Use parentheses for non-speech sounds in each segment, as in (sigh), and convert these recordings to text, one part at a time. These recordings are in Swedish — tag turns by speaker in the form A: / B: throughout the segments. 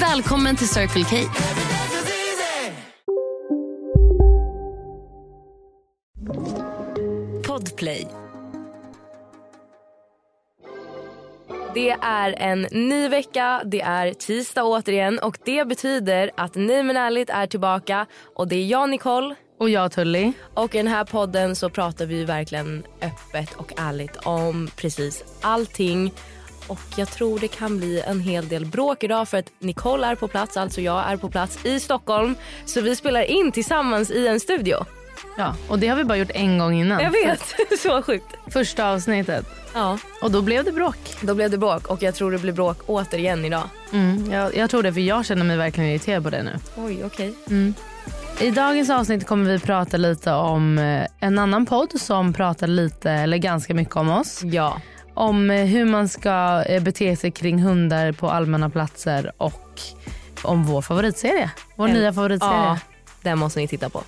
A: Välkommen till Circle K.
B: Podplay.
C: Det är en ny vecka, det är tisdag återigen och det betyder att Nej men ärligt är tillbaka och det är jag Nicole
D: Och jag Tully.
C: och i den här podden så pratar vi ju verkligen öppet och ärligt om precis allting och jag tror det kan bli en hel del bråk idag för att Nicole är på plats, alltså jag är på plats i Stockholm så vi spelar in tillsammans i en studio.
D: Ja, och det har vi bara gjort en gång innan.
C: Jag vet, (laughs) så sjukt.
D: Första avsnittet.
C: Ja,
D: Och då blev det bråk.
C: då blev det bråk och jag tror det blir bråk återigen idag.
D: Mm, jag, jag tror det, för jag känner mig verkligen irriterad på det nu.
C: Oj, okej.
D: I dagens avsnitt kommer vi prata lite om eh, en annan podd som pratar lite, eller ganska mycket om oss.
C: Ja.
D: Om eh, hur man ska eh, bete sig kring hundar på allmänna platser och om vår favoritserie. Vår
C: En-
D: nya favoritserie. Mm.
C: Ja, den måste ni titta på.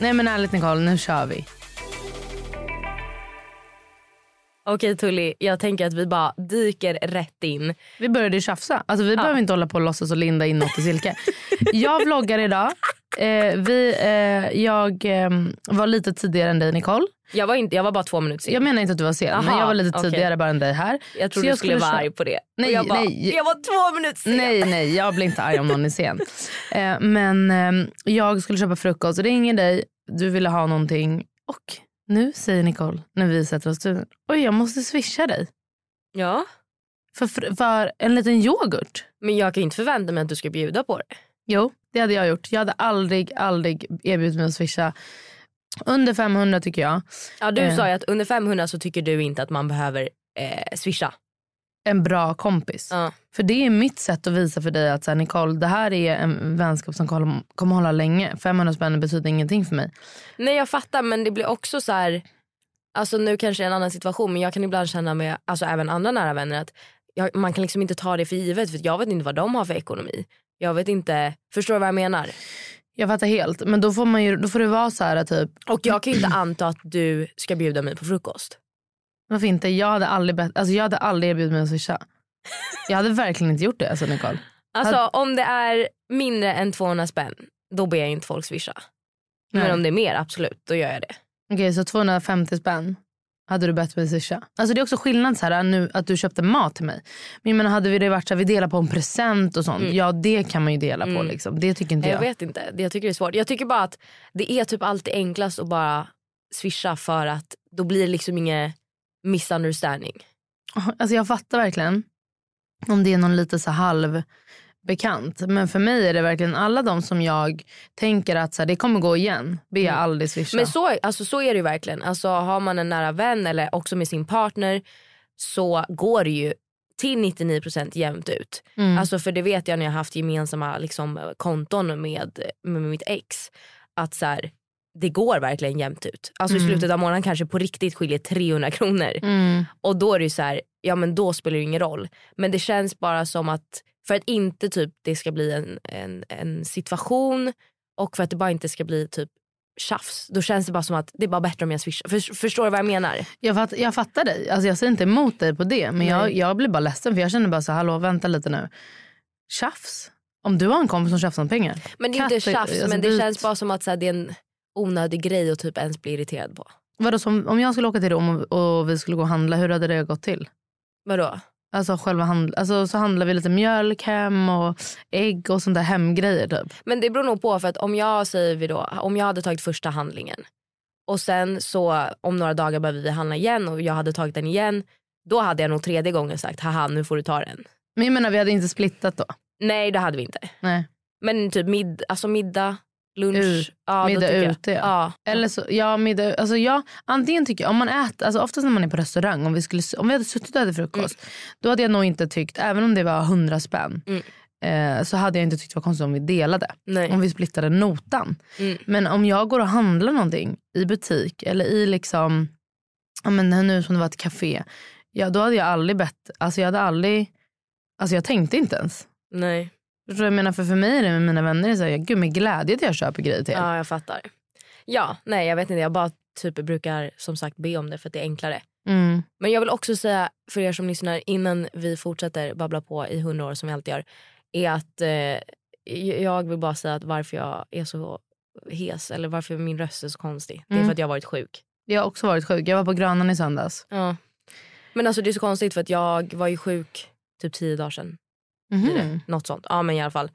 D: Nej men ärligt Nicole, nu kör vi.
C: Okej Tully, jag tänker att vi bara dyker rätt in.
D: Vi började ju tjafsa. Alltså, vi behöver inte hålla på och låtsas och linda in något i silke. jag vloggar idag. Eh, vi, eh, jag eh, var lite tidigare än dig Nicole.
C: Jag var, inte, jag var bara två minuter sen.
D: Jag menar inte att du var sen, men
C: Aha,
D: jag var lite
C: okej.
D: tidigare bara än dig här.
C: Jag
D: Så
C: trodde du skulle
D: skulle
C: vara
D: köra-
C: arg på det.
D: Nej,
C: och jag bara,
D: nej.
C: jag var två minuter sen.
D: Nej, nej, jag blir inte arg om någon är sen. Eh, men eh, jag skulle köpa frukost, ringer dig, du ville ha någonting och nu säger Nicole när vi sätter oss i studion, oj jag måste swisha dig
C: Ja,
D: för, för, för en liten yoghurt.
C: men jag kan ju inte förvänta mig att du ska bjuda på det.
D: Jo, det hade jag gjort. Jag hade aldrig, aldrig erbjudit mig att swisha. Under 500 tycker jag.
C: Ja, du
D: Eh.
C: sa ju att under 500 så tycker du inte att man behöver eh, swisha.
D: En bra kompis.
C: Ja.
D: För det är mitt sätt att visa för dig att så här, Nicole, det här är en vänskap som kommer, kommer hålla länge. 500 spänn betyder ingenting för mig.
C: Nej jag fattar men det blir också så här. Alltså nu kanske det är en annan situation men jag kan ibland känna med alltså även andra nära vänner att jag, man kan liksom inte ta det för givet för jag vet inte vad de har för ekonomi. Jag vet inte, förstår du vad jag menar?
D: Jag fattar helt. Men då får, man ju, då får det vara så här typ,
C: Och jag kan ju inte anta att du ska bjuda mig på frukost.
D: varför inte? Jag hade aldrig, bett, alltså, jag hade aldrig erbjudit mig att swisha. Jag hade verkligen inte gjort det alltså Nicole.
C: Alltså om det är mindre än 200 spänn då ber jag inte folk swisha. Men
D: Nej.
C: om det är mer absolut då gör jag det.
D: Okej, så 250 spänn hade du bett mig swisha. Alltså det är också skillnad så här, nu, att du köpte mat till mig. Men jag menar, hade vi det varit så här, vi delar på en present och sånt. Ja, det kan man ju dela på.
C: Mm.
D: Liksom. Det tycker inte
C: Nej,
D: jag.
C: Jag vet inte, Det- jag tycker det är svårt. Jag tycker bara att det är typ alltid enklast att bara swisha för att då blir det liksom ingen misunderstanding.
D: (laughs) Alltså jag fattar verkligen om det är någon lite så här halvbekant. Men för mig är det verkligen alla de som jag tänker att så här, det kommer gå igen. Ber jag aldrig swisha.
C: Mm. Men så, alltså, så är det ju verkligen. Alltså, har man en nära vän eller också med sin partner så går det ju till 99% jämnt ut.
D: Mm.
C: Alltså, för det vet jag när jag har haft gemensamma liksom, konton med, med mitt ex. Att så här, det går verkligen jämnt ut. Alltså i slutet av månaden kanske på riktigt skiljer 300 kronor.
D: mm.
C: Och då är det ju så här, ja men då spelar det ju ingen roll. Men det känns bara som att, för att inte typ det ska bli en, en, en situation och för att det bara inte ska bli typ tjafs. Då känns det bara som att det är bara bättre om jag swishar. För, förstår du vad jag menar?
D: Jag, fatt, jag fattar dig. Alltså jag säger inte emot dig på det. Men jag,
C: Nej.
D: jag blir bara ledsen för jag känner bara så här, hallå vänta lite nu. Tjafs? Om du har en kompis som tjafsar om pengar.
C: Men det är ju inte
D: Katter-
C: tjafs
D: alltså
C: men det
D: byt.
C: känns bara som att så här, det är en onödig grej att typ ens bli irriterad på.
D: Vadå, som, om jag skulle åka till Rom och, och vi skulle gå och handla, hur hade det gått till?
C: Vadå?
D: Alltså, själva handl- alltså så handlar vi lite mjölk hem och ägg och sånt där hemgrejer typ.
C: Men det beror nog på för att om jag säger vi då, om jag hade tagit första handlingen Och sen så om några dagar behöver vi handla igen och jag hade tagit den igen. Då hade jag nog tredje gången sagt haha nu får du ta den.
D: Men jag menar vi hade inte splittat då.
C: Nej det hade vi inte.
D: Nej.
C: Men typ mid, alltså middag, lunch.
D: Ut.
C: ja, då
D: middag
C: tycker jag-
D: ute ja.
C: Ja.
D: Eller så, ja, middag, alltså jag, antingen tycker jag, om man äter, alltså oftast när man är på restaurang, om vi, skulle, om vi hade suttit och ätit frukost, då hade jag nog inte tyckt, även om det var 100 spänn,
C: Mm.
D: eh, så hade jag inte tyckt det var konstigt om vi delade.
C: Nej.
D: Om vi splittade notan.
C: Mm.
D: Men om jag går och handlar någonting i butik eller i liksom, ja men nu som det var ett café, ja då hade jag aldrig bett, alltså jag hade aldrig, alltså jag tänkte inte ens.
C: Nej.
D: Förstår du vad jag menar? För, för mig är det med mina vänner, är det så här, ja, gud med glädje att jag köper grejer till er.
C: Ja, jag fattar. Ja, nej jag vet inte. Jag bara typ brukar som sagt be om det för att det är enklare.
D: Mm.
C: Men jag vill också säga för er som lyssnar innan vi fortsätter babbla på i hundra år som vi alltid gör. Är att eh, jag vill bara säga att varför jag är så hes eller varför min röst är så konstig. Det är
D: Mm.
C: för att jag har varit sjuk.
D: Jag har också varit sjuk. Jag var på Grönan i söndags.
C: Ja. Men alltså det är så konstigt för att jag var ju sjuk typ tio dagar sedan. blir det.
D: Mm.
C: Något sånt. Ja men i alla fall.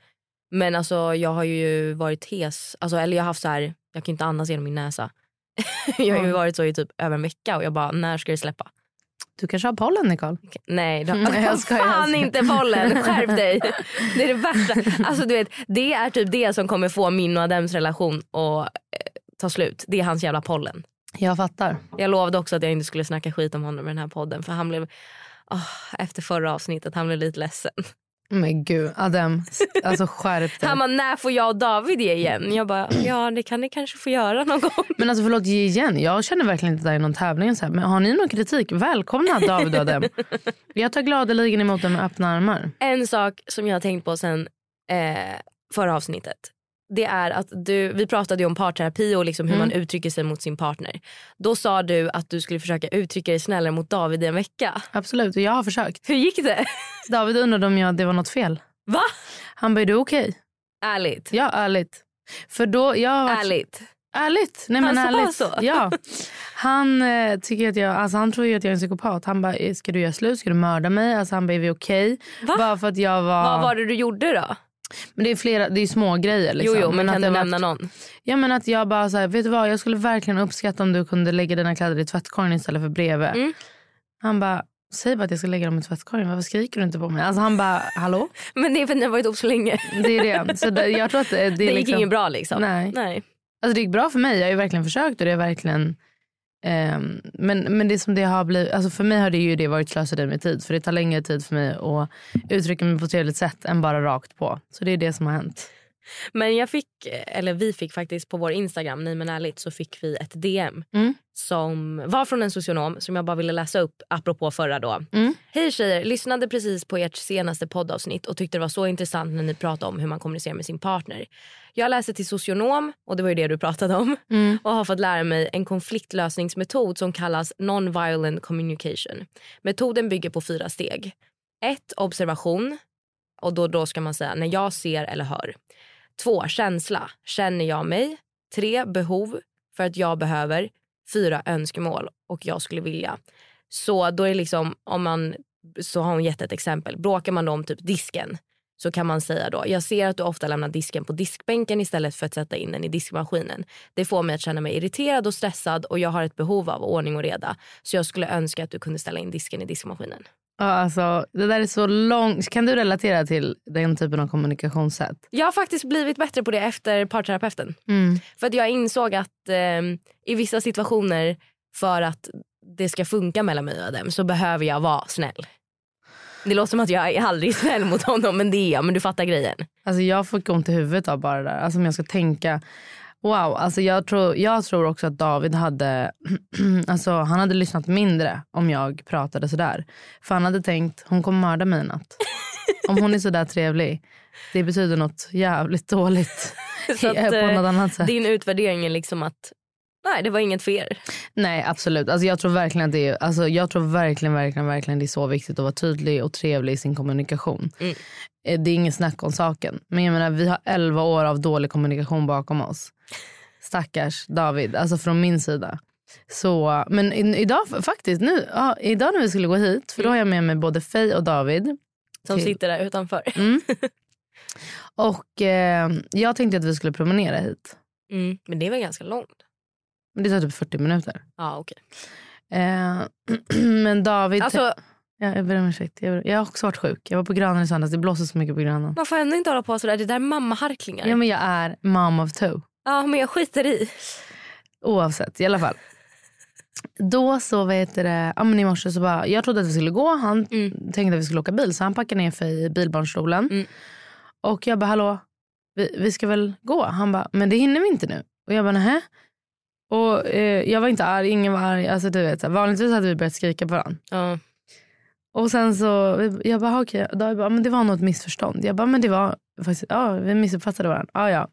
C: Men alltså jag har ju varit hes. Alltså, eller jag har haft så här, jag kan ju inte andas genom min näsa. (laughs) jag har ju
D: Ja.
C: varit så i typ över en vecka och jag bara, när ska det släppa?
D: Du kanske har pollen, Nicole.
C: Okej, Nej, då,
D: Nej, jag skojar.
C: fan inte pollen. Skärp dig.
D: (laughs)
C: Det är det värsta. Alltså, du vet, det är typ det som kommer få min och Adems relation att eh, ta slut. Det är hans jävla pollen.
D: Jag fattar.
C: Jag lovade också att jag inte skulle snacka skit om honom i den här podden. För han blev, ah, efter förra avsnittet, han blev lite ledsen.
D: Men gud, Adam. Alltså skärp
C: (laughs)
D: dig.
C: Han bara, när får jag och David ge igen? Jag bara, ja det kan ni kanske få göra någon gång.
D: Men alltså förlåt, ge igen. Jag känner verkligen inte att det här är någon tävling. Så här. Men har ni någon kritik? Välkomna David
C: (laughs)
D: och Adam. Jag tar gladeligen emot dem med öppna armar.
C: En sak som jag har tänkt på sen eh, förra avsnittet. Det är att du, vi pratade ju om parterapi och liksom hur
D: Mm.
C: man uttrycker sig mot sin partner. Då sa du att du skulle försöka uttrycka dig snällare mot David i en vecka. (laughs)
D: Absolut, och jag har försökt.
C: Hur gick det?
D: David undrade om jag, det var något fel.
C: Va?
D: Han bara, är du okej?
C: Ärligt.
D: Ja, ärligt. För då, jag har varit
C: Ärligt.
D: Ärligt. Nej,
C: Han
D: men
C: sa
D: ärligt.
C: Alltså, så?
D: Ja. Han, eh, tycker att jag, alltså, han tror ju att jag är en psykopat. Han bara, "Eh, ska du göra slut? Ska du mörda mig? Alltså, han bara, är vi okej?
C: Va?
D: Bara för att jag var...
C: Vad var det du gjorde då?
D: Men det är flera, det är små grejer liksom.
C: Jo, jo, men,
D: att
C: kan
D: det
C: du
D: var-
C: nämna någon?
D: Ja men att jag bara så här, vet du vad? Jag skulle verkligen uppskatta om du kunde lägga dina kläder i tvättkorgen istället för bredvid.
C: Mm.
D: Han bara, säg bara att jag ska lägga dem i tvättkorgen. Varför skriker du inte på mig? Alltså han bara, hallå?
C: Men det är för att ni har varit ihop så länge.
D: Det är det. Så det, jag tror att det, det, är
C: Det gick
D: liksom...
C: inget bra liksom.
D: Nej.
C: Nej.
D: Alltså det gick bra för mig. Jag har ju verkligen försökt och det är verkligen... ehm, men, men det som det har blivit, alltså för mig har det ju det varit slöseri med tid. För det tar längre tid för mig att uttrycka mig på ett trevligt sätt än bara rakt på. Så det är det som har hänt.
C: Men jag fick, eller vi fick faktiskt på vår Instagram, nej men ärligt, så fick vi ett DM
D: Mm.
C: som var från en socionom som jag bara ville läsa upp apropå förra då.
D: Mm.
C: Hej tjejer, lyssnade precis på ert senaste poddavsnitt och tyckte det var så intressant när ni pratade om hur man kommunicerar med sin partner. Jag läste till socionom, och det var ju det du pratade om,
D: Mm.
C: och har fått lära mig en konfliktlösningsmetod som kallas non-violent communication. Metoden bygger på fyra steg. Ett, Observation. Och då, då ska man säga när jag ser eller hör. Två, Känsla. Känner jag mig? Tre, Behov. För att jag behöver. Fyra, Önskemål. Och jag skulle vilja. Så då är det liksom om man, så har hon gett ett exempel. Bråkar man då om typ disken så kan man säga då, jag ser att du ofta lämnar disken på diskbänken istället för att sätta in den i diskmaskinen. Det får mig att känna mig irriterad och stressad och jag har ett behov av ordning och reda. Så jag skulle önska att du kunde ställa in disken i diskmaskinen.
D: Ja, alltså, det där är så långt. Kan du relatera till den typen av kommunikationssätt?
C: Jag har faktiskt blivit bättre på det efter parterapeuten. För att jag insåg att eh, i vissa situationer för att det ska funka mellan mig och Adam så behöver jag vara snäll. Det låter som att jag är aldrig snäll mot honom men det är jag. Men du fattar grejen.
D: Alltså, jag fick ont i huvudet av bara det där. Alltså, om jag ska tänka... Wow, alltså jag, tror, jag tror också att David hade, (clears throat) alltså han hade lyssnat mindre om jag pratade sådär. För han hade tänkt, hon kommer mörda mig
C: (laughs)
D: i natt. Om hon är sådär trevlig, det betyder något jävligt dåligt.
C: Så att,
D: (laughs) på
C: eh,
D: något annat sätt.
C: Din utvärdering är liksom att nej det var inget för er.
D: Nej absolut, alltså jag tror verkligen att det är, alltså jag tror verkligen, verkligen, verkligen det är så viktigt att vara tydlig och trevlig i sin kommunikation.
C: Mm.
D: Eh, Det är inget snack om saken. Men jag menar vi har 11 år av dålig kommunikation bakom oss. Stackars David, alltså från min sida. Så, men i, idag f- faktiskt, nu, ja, idag när vi skulle gå hit, för då har jag med mig både Faye och David.
C: Som
D: Till- Mm.
C: sitter där utanför.
D: Och eh, jag tänkte att vi skulle promenera hit.
C: Mm. Men det var ganska långt.
D: Men det tar typ 40 minuter.
C: Ja, okej.
D: Eh, (clears throat) men David...
C: Alltså,
D: Ja, jag ber om ursäkt. Jag, ber, jag har också varit sjuk. Jag var på Grönan i söndags. Det blåser så mycket på Grönan.
C: man får ändå inte hålla på sådär. Det där är mammaharklingar.
D: Ja, men jag är mom of two.
C: Ja, men jag skiter i.
D: Oavsett, i alla fall. Då så, vad heter det, ja men i morse så bara, jag trodde att vi skulle gå. Han tänkte att vi skulle åka bil så han packade ner för i bilbarnstolen.
C: Mm.
D: Och jag bara, hallå, vi, vi ska väl gå? Han bara, men det hinner vi inte nu. Och jag bara, nähä? Och eh, jag var inte arg, ingen var arg. Alltså du vet, så här, vanligtvis hade vi börjat skrika på varandra.
C: Ja.
D: Och sen så, vi- jag bara, okej, okay. bara, men det var något missförstånd. Jag bara, men det var faktiskt, ja vi missuppfattade varandra. Ja, ja.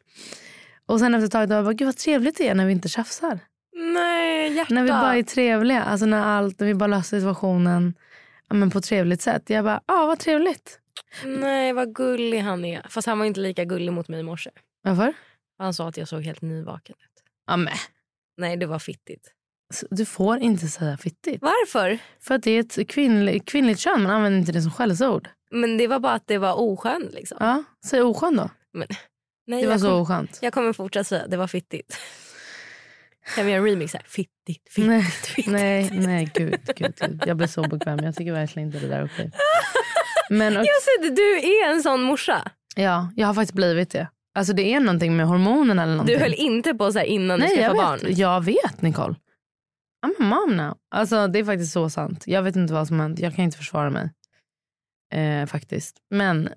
D: Och sen efter ett tag, då, jag bara, gud vad trevligt det är när vi inte tjafsar.
C: Nej, hjärta.
D: När vi bara är trevliga, alltså när, allt, när vi bara löser situationen ja, men på ett trevligt sätt. Jag bara, ja ah, vad trevligt.
C: Nej, vad gullig han är. Fast han var inte lika gullig mot mig i morse.
D: Varför?
C: Han sa att jag såg helt nyvaken ut.
D: Ja, men.
C: Nej, det var fittigt.
D: Så Du får inte säga fittigt.
C: Varför?
D: För att det är ett kvinnligt, kvinnligt kön, man använder inte det som skällsord.
C: Men det var bara att det var oskönt liksom.
D: Ja, säg oskön då.
C: Nej,
D: Det var
C: jag,
D: så
C: kom,
D: oskönt.
C: jag kommer fortsätta säga det var
D: (laughs)
C: fittigt. Kan vi göra en remix här? Fittigt, fittigt,
D: Nej,
C: fittigt. (laughs)
D: nej, nej gud, gud, gud. Jag blir så obekväm. Jag tycker verkligen inte det där är okej. Men och,
C: Jag ser Alltså, det, du är en sån morsa.
D: ja, jag har faktiskt blivit det. Alltså det är någonting med hormonerna eller någonting.
C: Du höll inte på så här innan
D: Nej,
C: du
D: jag
C: skaffade
D: vet,
C: barn.
D: Jag vet Nicole. I'm a mom now. Alltså, det är faktiskt så sant. Jag vet inte vad som hänt. Jag kan inte försvara mig. Eh, faktiskt. Men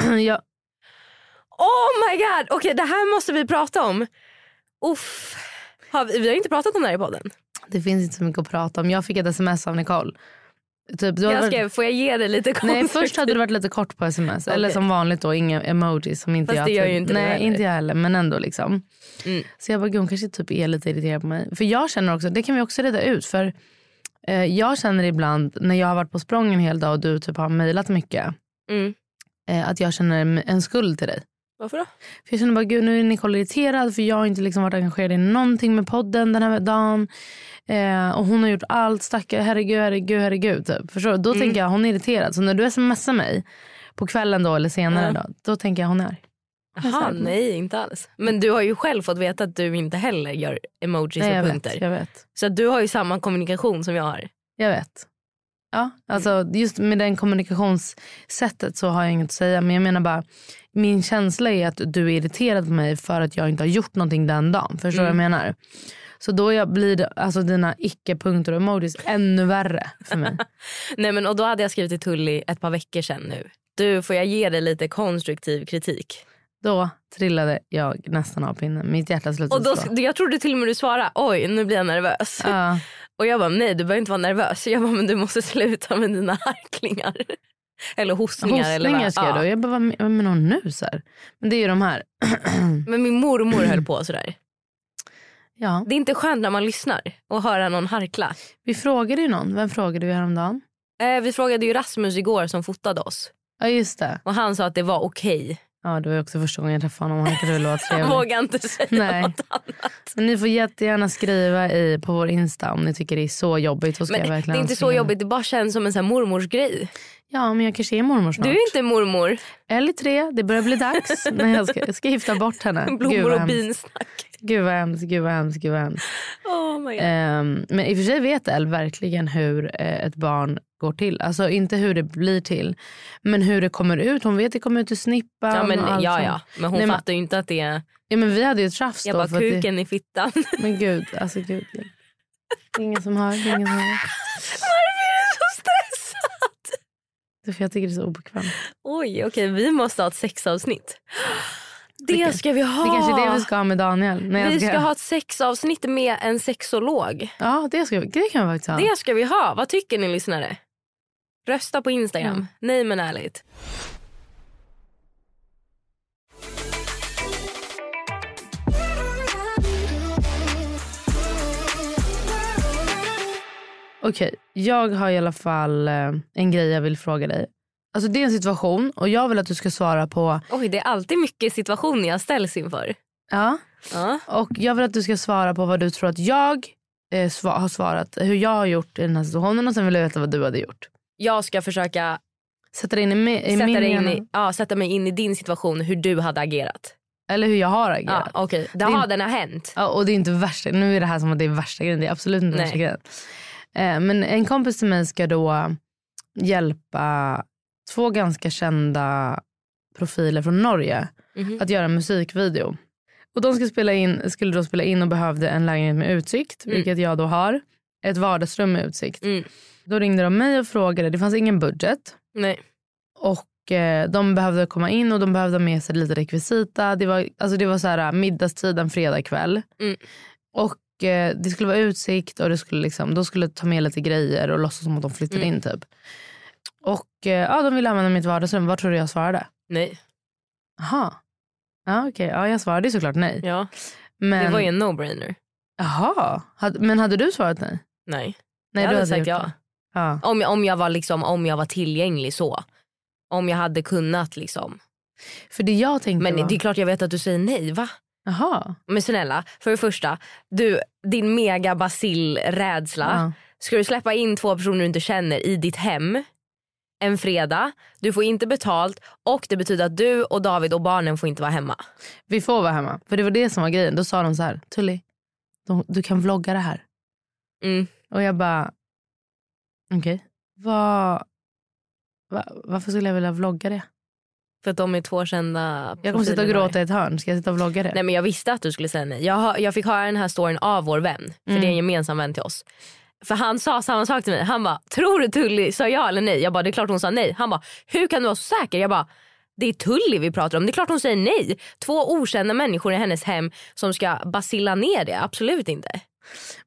D: (clears throat) jag,
C: Oh my god! Okej, det här måste vi prata om. Uff. Har vi, vi har inte pratat om det här i podden.
D: det finns inte så mycket att prata om. Jag fick ett sms av Nicole. Typ, du har
C: Jag
D: varit-
C: skrev, får jag ge dig lite
D: Nej,
C: konstruktiv?
D: först hade du varit lite kort på sms. Eller
C: Okej.
D: som vanligt då, inga emojis. Som inte
C: Fast
D: jag
C: det gör
D: typ-
C: ju inte du
D: Nej,
C: heller.
D: inte jag heller. Men ändå liksom.
C: Mm.
D: Så jag bara, gud hon kanske typ är lite irriterad på mig. För jag känner också, det kan vi också reda ut. För eh, jag känner ibland när jag har varit på språng en hel dag och du typ har mejlat mycket.
C: Mm.
D: Eh, att jag känner en- en skuld till dig.
C: Varför då?
D: För jag känner bara, gud nu är Nicole irriterad för jag har inte liksom varit engagerad i någonting med podden den här dagen. Eh, och hon har gjort allt, stackare, herregud, herregud, herregud. Typ. Förstår du? Då
C: Mm.
D: tänker jag, hon är irriterad. Så när du smsar mig på kvällen då eller senare
C: Ja.
D: då, då tänker jag hon är arg.
C: Jaha, nej inte alls. Men du har ju själv fått veta att du inte heller gör emojis
D: Nej, jag
C: och punkter.
D: vet, jag vet.
C: Så att du har ju samma kommunikation som jag har.
D: Jag vet. Ja, alltså just med det kommunikationssättet så har jag inget att säga. Men jag menar bara, min känsla är att du är irriterad på mig för att jag inte har gjort någonting den dagen. Förstår du
C: Mm.
D: vad jag menar? Så då jag blir det- alltså dina icke-punkter och emojis ännu värre
C: (laughs)
D: för mig.
C: Nej men och då hade jag skrivit till Tully ett par veckor sedan nu. Du, får jag ge dig lite konstruktiv kritik?
D: då trillade jag nästan av pinnen. Mitt hjärta slutade
C: Och då,
D: slå.
C: jag trodde till och med du svarade oj nu blir jag nervös. (laughs)
D: Ja,
C: Och jag bara nej du behöver inte vara nervös. Jag bara men du måste (laughs) sluta med dina harklingar. Eller hostningar. eller
D: hostningar
C: vad.
D: skrev du.
C: Ja.
D: Jag bara, vad men- vad menar hon nu? Så här? Men det är ju de här.
C: Men min mormor höll på sådär.
D: ja,
C: Det är inte skönt när man lyssnar och höra någon harkla.
D: vi frågade ju någon. Vem frågade vi häromdagen?
C: Eh, vi frågade ju Rasmus igår som fotade oss.
D: Ja, just det.
C: Och han sa att det var okej.
D: Ja, det var ju också första gången jag träffade honom. Han kunde
C: (laughs)
D: väl vara
C: Han
D: trevlig.
C: vågade inte säga
D: Nej.
C: något annat.
D: Men ni får jättegärna skriva i, på vår Insta om ni tycker det är så jobbigt. Så ska
C: Men
D: jag
C: det
D: verkligen
C: är inte så
D: anstränga mig.
C: jobbigt, det bara känns som en sån här mormorsgrej.
D: Ja, men jag kanske är mormor snart.
C: Du är inte
D: (laughs)
C: mormor.
D: Eller tre, det börjar
C: (laughs)
D: bli dags. Nej, jag ska, jag ska gifta bort henne. Gud,
C: Blommor
D: vad
C: och
D: hemskt.
C: binsnack.
D: Gud vad hemskt, gud vad hemskt, gud vad hemskt.
C: Oh my God.
D: Ehm, men i och för sig vet El verkligen hur eh, ett barn går till. Alltså inte hur det blir till, men hur det kommer ut. Hon vet det kommer ut ur snippan.
C: Ja, men,
D: och allt
C: ja,
D: sånt.
C: ja. men hon
D: Nej, men-
C: fattar ju inte att det är...
D: ja, men vi hade ju ett tjafs
C: Jag
D: då.
C: bara
D: för att det-
C: kuken i fittan. (laughs)
D: Men gud, alltså gud. gud. Det är Ingen som hör, det är ingen som hör.
C: Varför är du så stressad?
D: Det är För jag tycker det är så obekvämt.
C: Oj, okej vi måste ha ett sexavsnitt. (gasps)
D: Det-
C: Det ska vi ha.
D: Det är kanske är det vi ska ha med Daniel. Nej, jag
C: Vi ska ha ett sexavsnitt med en sexolog.
D: Ja, det, ska vi... det kan vi faktiskt ha.
C: Det ska vi ha. Vad tycker ni lyssnare? Rösta på Instagram.
D: Mm.
C: Nej men ärligt.
D: Okej, jag har i alla fall eh, en grej jag vill fråga dig. Alltså det är en situation och jag vill att du ska svara på...
C: Oj, det är alltid mycket situationer jag ställs inför.
D: Ja.
C: Ja.
D: Och jag vill att du ska svara på vad du tror att jag eh, sva- har svarat. Hur jag har gjort i den här situationen och sen vill jag veta vad du hade gjort.
C: Jag ska försöka
D: Sätta dig in i, mi- i
C: sätta,
D: min
C: dig in
D: hjärna.
C: i, ja, sätta mig in i din situation, hur du hade agerat.
D: Eller hur jag har
C: Ja,
D: agerat. Ja.
C: Okej, det
D: Det är-
C: har den har hänt.
D: och det är inte värsta, nu är det här som att det är värsta grejen. Det är absolut inte
C: Nej.
D: värsta grejen. Eh, men en kompis till mig ska då hjälpa två ganska kända profiler från Norge
C: Mhm.
D: att göra en musikvideo. Och de ska spela in, skulle då spela in och behövde en lägenhet med utsikt,
C: Mm.
D: vilket jag då har. Ett vardagsrum med utsikt.
C: Mm.
D: Då ringde de mig och frågade, det fanns ingen budget.
C: Nej.
D: Och eh, de behövde komma in och de behövde ha med sig lite rekvisita. Det var, alltså det var så här, middagstid en fredagkväll.
C: Mm.
D: Och eh, det skulle vara utsikt och det skulle liksom, de skulle ta med lite grejer och låtsas som att de flyttade
C: Mm.
D: in typ. Och eh, ja, de ville använda mitt vardagsrum. Vad tror du jag svarade?
C: Nej.
D: Jaha. Ja, okej. Ja, jag svarade ju såklart nej.
C: Ja.
D: Men,
C: Det var ju en no-brainer.
D: Jaha. Had, men hade du svarat nej?
C: Nej.
D: Nej,
C: jag
D: du
C: hade sagt
D: gjort
C: ja.
D: det. ja.
C: Om jag, om, jag var liksom, om jag var tillgänglig så. Om jag hade kunnat liksom.
D: För det jag tänkte
C: Men
D: var...
C: det är klart jag vet att du säger nej va?
D: Jaha.
C: Men snälla, för det första, du, din mega basilrädsla.
D: Ja.
C: Ska du släppa in två personer du inte känner i ditt hem en fredag, du får inte betalt och det betyder att du och David och barnen får inte vara hemma.
D: Vi får vara hemma. För det var det som var grejen. Då sa de så här, Tully, de, du kan vlogga det här.
C: Mm.
D: Och jag bara, okej. Vad- va, varför skulle jag vilja vlogga det?
C: För att de är två kända
D: Jag kommer sitta och
C: profiler.
D: gråta i ett hörn. Ska jag sitta och vlogga det?
C: Nej men jag visste att du skulle säga nej. Jag, har- jag fick höra den här storyn av vår vän. För
D: Mm.
C: det är en gemensam vän till oss. För han sa samma sak till mig. Han bara, tror du Tully sa ja eller nej? Jag bara, det är klart hon sa nej. Han bara, hur kan du vara så säker? Jag bara, det är Tully vi pratar om. Det är klart hon säger nej. Två okända människor i hennes hem som ska basilla ner det. Absolut inte.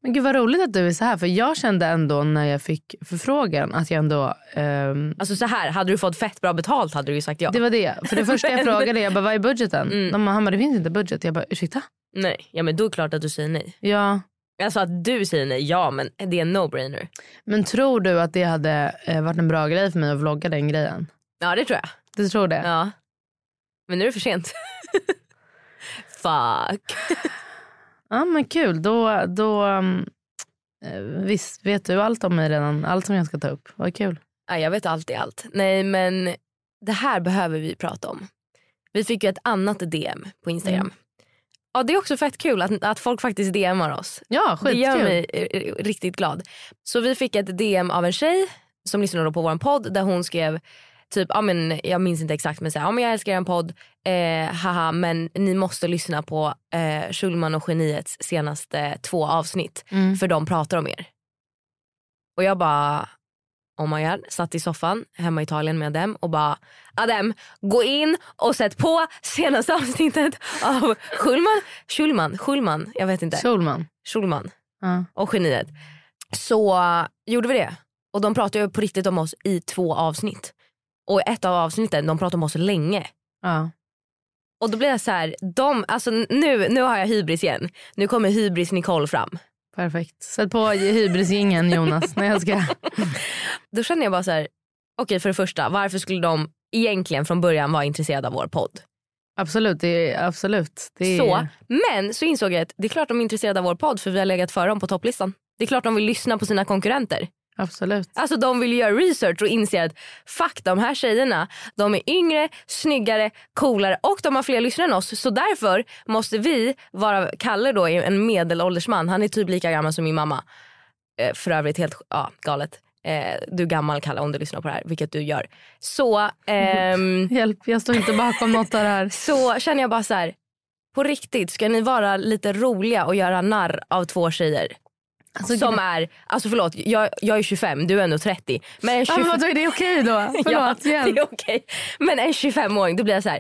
D: Men gud vad roligt att du är så här. För jag kände ändå när jag fick förfrågan att jag ändå... ehm,
C: Alltså så här, hade du fått fett bra betalt hade du ju sagt ja.
D: Det var det. För det
C: (laughs)
D: första jag frågade, jag bara, vad är budgeten?
C: Mm.
D: De bara, han bara, det finns inte budget. Jag bara, ursäkta?
C: Nej, ja men då är det klart att du säger nej.
D: Ja.
C: Alltså att du säger nej, ja men det är en no-brainer.
D: Men tror du att det hade eh, varit en bra grej för mig att vlogga den grejen?
C: Ja det tror jag.
D: Du tror det?
C: Ja. Men nu är det för sent. (laughs) Fuck.
D: Ja men kul, då, då um, eh, visst vet du allt om mig redan, allt som jag ska ta upp. Vad kul.
C: Ja, jag vet alltid allt. Nej men det här behöver vi prata om. Vi fick ju ett annat DM på Instagram. Ja, det är också fett kul att, att folk faktiskt DMar oss.
D: Ja,
C: Det gör
D: skitkul.
C: mig eh, riktigt glad. Så vi fick ett DM av en tjej som lyssnar då på vår podd där hon skrev typ, ja men jag minns inte exakt men så här, ja men jag älskar er podd, eh, haha men ni måste lyssna på eh, Schulman och geniets senaste två avsnitt
D: Mm.
C: för de pratar om er. Och jag bara Oh my god, satt i soffan hemma i Italien med Adem och bara Adem, gå in och sätt på senaste avsnittet av Schulman, Schulman, Schulman, jag vet inte,
D: Solman.
C: Schulman
D: Ja.
C: och geniet. Så gjorde vi det. Och de pratade ju på riktigt om oss i två avsnitt. Och i ett av avsnitten, de pratade om oss länge.
D: Ja.
C: Och då blev jag så här, de, alltså nu, nu har jag hybris igen. Nu kommer hybris Nicole fram.
D: Perfekt. Sätt
C: (laughs)
D: på hybrisgingen Jonas. Nej, jag ska.
C: Då kände jag bara så här, okej för det första, varför skulle de egentligen från början vara intresserade av vår podd?
D: Absolut, det är, absolut. Det är,
C: Så, men så insåg jag att det är klart de är intresserade av vår podd för vi har legat före dem på topplistan. Det är klart de vill lyssna på sina konkurrenter.
D: Absolut.
C: Alltså de vill göra research och inser att fuck de här tjejerna, de är yngre, snyggare, coolare och de har fler lyssnare än oss. Så därför måste vi vara, Kalle då är en medelålders man, han är typ lika gammal som min mamma. Eh, för övrigt helt ja, galet. Eh, du är gammal Kalle om du lyssnar på det här, vilket du gör. Så,
D: (laughs)
C: ehm,
D: Hjälp, jag står inte bakom något av
C: (laughs)
D: det här.
C: så känner jag bara så här. på riktigt ska ni vara lite roliga och göra narr av två tjejer?
D: Alltså,
C: som är, alltså förlåt jag, jag är 25, du är ändå 30. Men en
D: Ja,
C: 25
D: men vadå, är det okej då? Förlåt,
C: (laughs) ja,
D: hjälp.
C: Det är okej. Men en 25-åring, då blir jag så här.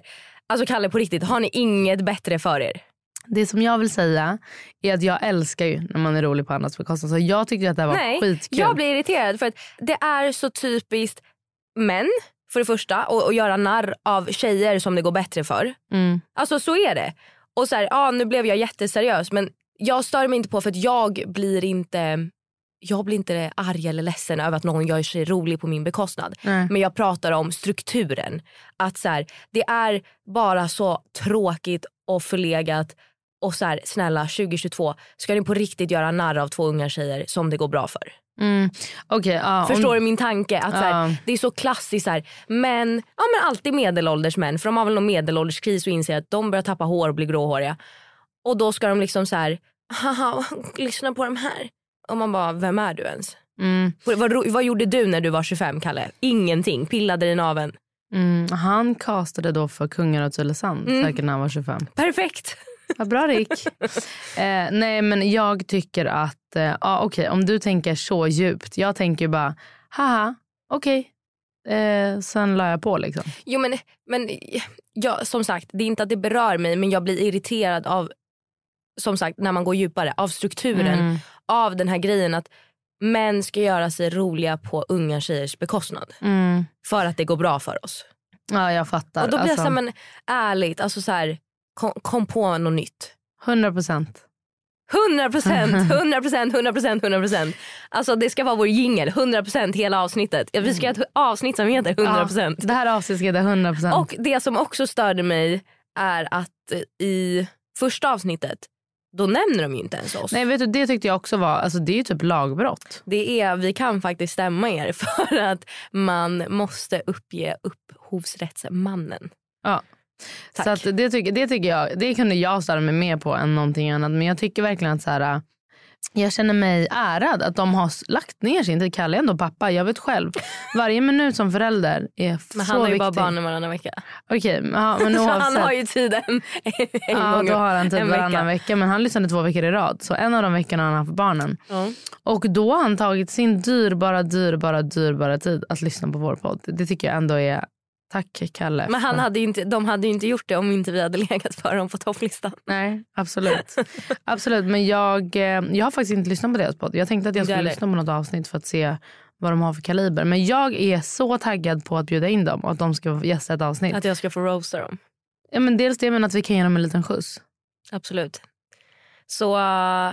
C: Alltså Kalle på riktigt, har ni inget bättre för er?
D: Det som jag vill säga är att jag älskar ju när man är rolig på andras bekostnad. Så jag tyckte att det här var
C: Nej,
D: skitkul.
C: jag blir irriterad för att det är så typiskt män för det första och, och göra narr av tjejer som det går bättre för.
D: Mm.
C: Alltså så är det. Och så här, ja nu blev jag jätteseriös men jag stör mig inte på för att jag blir inte jag blir inte arg eller ledsen över att någon gör sig rolig på min bekostnad.
D: Nej.
C: Men jag pratar om strukturen. Att så här, det är bara så tråkigt och förlegat. Och så här, snälla 2022, ska ni på riktigt göra narr av två unga tjejer som det går bra för?
D: Mm. Okej, ja, om-
C: Förstår du min tanke? Att så här,
D: Ja.
C: Det är så klassiskt. Så här, men, ja, men alltid medelålders män. För de har väl någon medelålderskris och inser att de börjar tappa hår och bli gråhåriga. Och då ska de liksom så här, haha, (laughs) lyssna på de här. Och man bara, vem är du ens?
D: Mm.
C: Vad, vad, ro- vad gjorde du när du var 25 Kalle? Ingenting. Pillade din naveln.
D: Mm. Han castade då för Kungar av Tylösand
C: Mm.
D: säkert när han var 25.
C: Perfekt.
D: Vad
C: (laughs)
D: bra Rick. eh, nej men jag tycker att, eh, ja, okej om du tänker så djupt. Jag tänker ju bara, haha, okej. Eh, sen la jag på liksom.
C: Jo men, men ja, som sagt, det är inte att det berör mig men jag blir irriterad av, som sagt när man går djupare, av strukturen.
D: Mm.
C: Av den här grejen att män ska göra sig roliga på unga tjejers bekostnad.
D: Mm.
C: För att det går bra för oss.
D: Ja jag fattar.
C: Och då blir jag
D: Alltså,
C: såhär, men ärligt, alltså så här, kom, kom på något nytt.
D: 100 procent.
C: 100 procent,
D: (laughs)
C: 100 procent, 100 procent, 100 procent. Alltså det ska vara vår jingel, 100 procent hela avsnittet. Ja, Vi
D: Mm.
C: ska göra ett avsnitt som heter 100 procent.
D: Det här avsnittet ska heta 100 procent.
C: Och det som också störde mig är att i första avsnittet då nämner de ju inte ens oss.
D: Nej vet du det tyckte jag också var, alltså det är ju typ lagbrott.
C: Det är, vi kan faktiskt stämma er (laughs) för att man måste uppge upphovsrättsmannen.
D: Ja.
C: Tack.
D: Så att det, tycker, det tycker jag, det kunde jag störa mig mer på än någonting annat. Men jag tycker verkligen att så här, äh, jag känner mig ärad att de har s- lagt ner sin tid. Kalle är ändå pappa, jag vet själv. Varje minut som förälder är
C: Men
D: så
C: han har ju
D: viktig.
C: bara barnen varannan vecka.
D: Okej, men- ja,
C: (laughs)
D: men
C: Så
D: oavsett.
C: han har ju tiden (laughs) en
D: Ja,
C: gång
D: då har han
C: en
D: typ
C: vecka.
D: varannan vecka. Men han lyssnade två veckor i rad. Så en av de veckorna har han haft barnen.
C: Ja.
D: Och då har han tagit sin dyrbara, dyrbara, dyrbara tid att lyssna på vår podd. Det tycker jag ändå är, tack Kalle.
C: Men han
D: för-
C: hade ju inte, de hade ju inte gjort det om inte vi hade legat för dem på topplistan.
D: Nej, absolut. absolut. Men jag, eh, jag har faktiskt inte lyssnat på deras podd. Jag tänkte att jag
C: Inte
D: skulle
C: heller.
D: lyssna på något avsnitt för att se vad de har för kaliber. Men jag är så taggad på att bjuda in dem och att de ska gästa ett avsnitt.
C: Att jag ska få roasta dem.
D: Ja, men dels det, men att vi kan ge dem en liten skjuts.
C: Absolut. Så eh,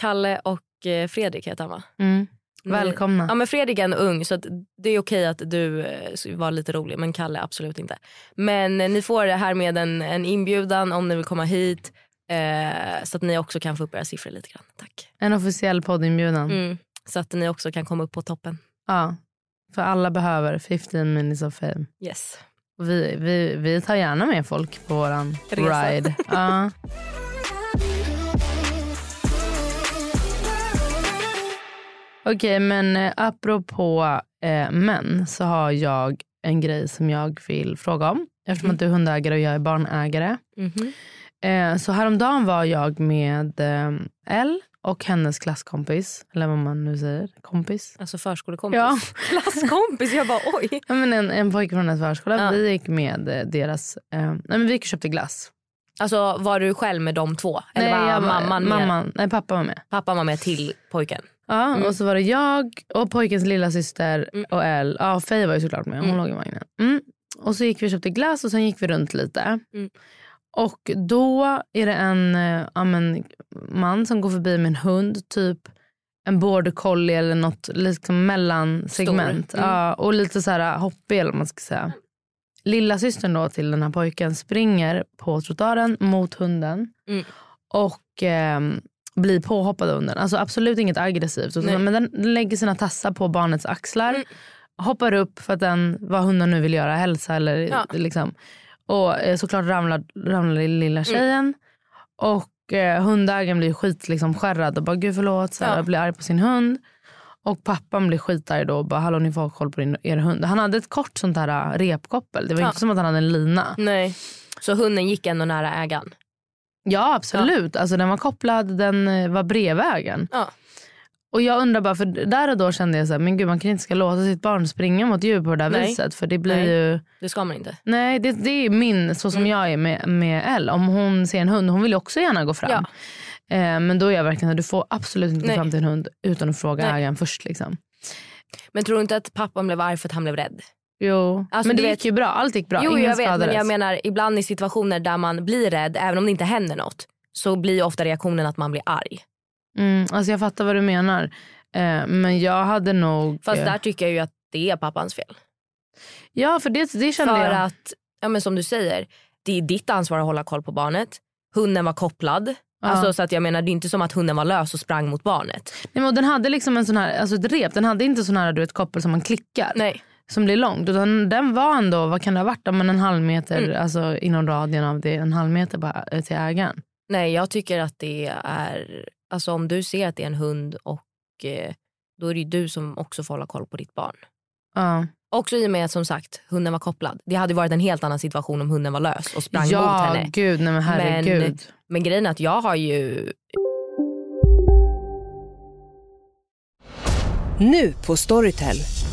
C: Kalle och eh, Fredrik heter han va?
D: Mm.
C: Ni-
D: Välkomna.
C: Ja men Fredrik är ändå ung så att det är okej att du eh, var lite rolig men Kalle absolut inte. Men eh, ni får här med en, en inbjudan om ni vill komma hit eh, så att ni också kan få upp era siffror lite grann. Tack.
D: En officiell poddinbjudan.
C: Mm. Så att ni också kan komma upp på toppen.
D: Ja. För alla behöver 15 minutes of fame.
C: Yes.
D: Och Vi, vi, vi tar gärna med folk på våran
C: Resa. (laughs)
D: ride. Ja. Okej, men eh, apropå eh, män så har jag en grej som jag vill fråga om. Eftersom
C: Mm.
D: att du är hundägare och jag är barnägare.
C: Mhm.
D: Eh, så häromdagen var jag med eh, Elle och hennes klasskompis. Eller vad man nu säger. Kompis.
C: Alltså förskolekompis.
D: Ja.
C: (laughs) Klasskompis. Jag bara oj.
D: Ja, men en, en pojke från hennes förskola.
C: Ja.
D: Vi gick med eh, deras... Eh, nej, men vi gick och köpte glass.
C: Alltså var du själv med de två? Eller var
D: jag var-
C: mamman med?
D: mamman, nej, pappa var med. Mm.
C: Pappan var med till pojken.
D: Ja, Och så var det jag och pojkens lilla syster
C: Mm.
D: och Elle. Ja, Faye var ju såklart med. Hon
C: Mm.
D: låg i vagnen. Mm. Och så gick vi och köpte glass och sen gick vi runt lite.
C: Mm.
D: Och då är det en eh, ja, men, man som går förbi med en hund. Typ en border collie eller något liksom mellansegment.
C: Mm.
D: Ja, och lite så här hoppig eller vad man ska säga. Lilla systern då till den här pojken springer på trottoaren mot hunden och ehm, blir påhoppad av hunden. Alltså absolut inget aggressivt.
C: Nej. Mm.
D: Utan, men den den lägger sina tassar på barnets axlar. Hoppar upp för att den, vad hunden nu vill göra, hälsa eller
C: Ja.
D: liksom. Och eh, såklart ramlar, ramlar
C: Mm.
D: lilla tjejen. Och eh, hundägaren blir skit liksom, skärrad och bara gud förlåt. Så här,
C: Ja.
D: Blir arg på sin hund. Och pappan blir skitarg då och bara hallå ni får ha koll på din, er hund. Han hade ett kort sånt här äh, repkoppel. Det var
C: Ja.
D: inte som att han hade en lina.
C: Nej. Så hunden gick ändå nära ägaren.
D: Ja absolut, Alltså, den var kopplad, den eh, var bredvid ägaren.
C: Ja.
D: Och jag undrar bara, för där och då kände jag så här, men gud man kan inte ska låta sitt barn springa mot djur på det där
C: Nej.
D: viset. För det blir
C: Nej. Mm.
D: ju,
C: Det ska man inte.
D: nej det, det är min, så som jag är med, med Elle. Om hon ser en hund, hon vill ju också gärna gå fram.
C: Ja.
D: Eh, men då är jag verkligen, så här, du får absolut inte gå
C: Nej.
D: fram till en hund utan att fråga
C: Nej.
D: ägaren först. Liksom.
C: Men tror du inte att pappan blev arg för att han blev rädd?
D: Jo,
C: Alltså,
D: men
C: du
D: det
C: vet-
D: gick ju bra, allt gick bra,
C: jo
D: ingen
C: jag vet men
D: skadades.
C: jag menar ibland i situationer där man blir rädd även om det inte händer något så blir ju ofta reaktionen att man blir arg.
D: mm, alltså jag fattar vad du menar. Eh, men jag hade nog...
C: Fast
D: eh,
C: där tycker jag ju att det är pappans fel.
D: Ja för det, det kände
C: För
D: jag.
C: att, ja, men som du säger, det är ditt ansvar att hålla koll på barnet. Hunden var kopplad. Alltså, så att jag menar, det är inte som att hunden var lös och sprang mot barnet.
D: Nej, men och den hade liksom en sån här, alltså ett rep, den hade inte sån här du vet, koppel som man klickar.
C: Nej.
D: Som blir långt. Utan den var ändå, vad kan det ha varit? Ja, Men en halv meter,
C: Mm.
D: alltså inom radien av det, en halv meter bara, eh, till ägaren.
C: Nej, jag tycker att det är... Alltså om du ser att det är en hund och eh, då är det ju du som också får hålla koll på ditt barn.
D: Ja.
C: Också i och med att som sagt hunden var kopplad. Det hade varit en helt annan situation om hunden var lös och sprang mot
D: Ja,
C: henne.
D: gud, nej men herregud.
C: Men, men grejen är att jag har ju...
B: Nu på Storytel.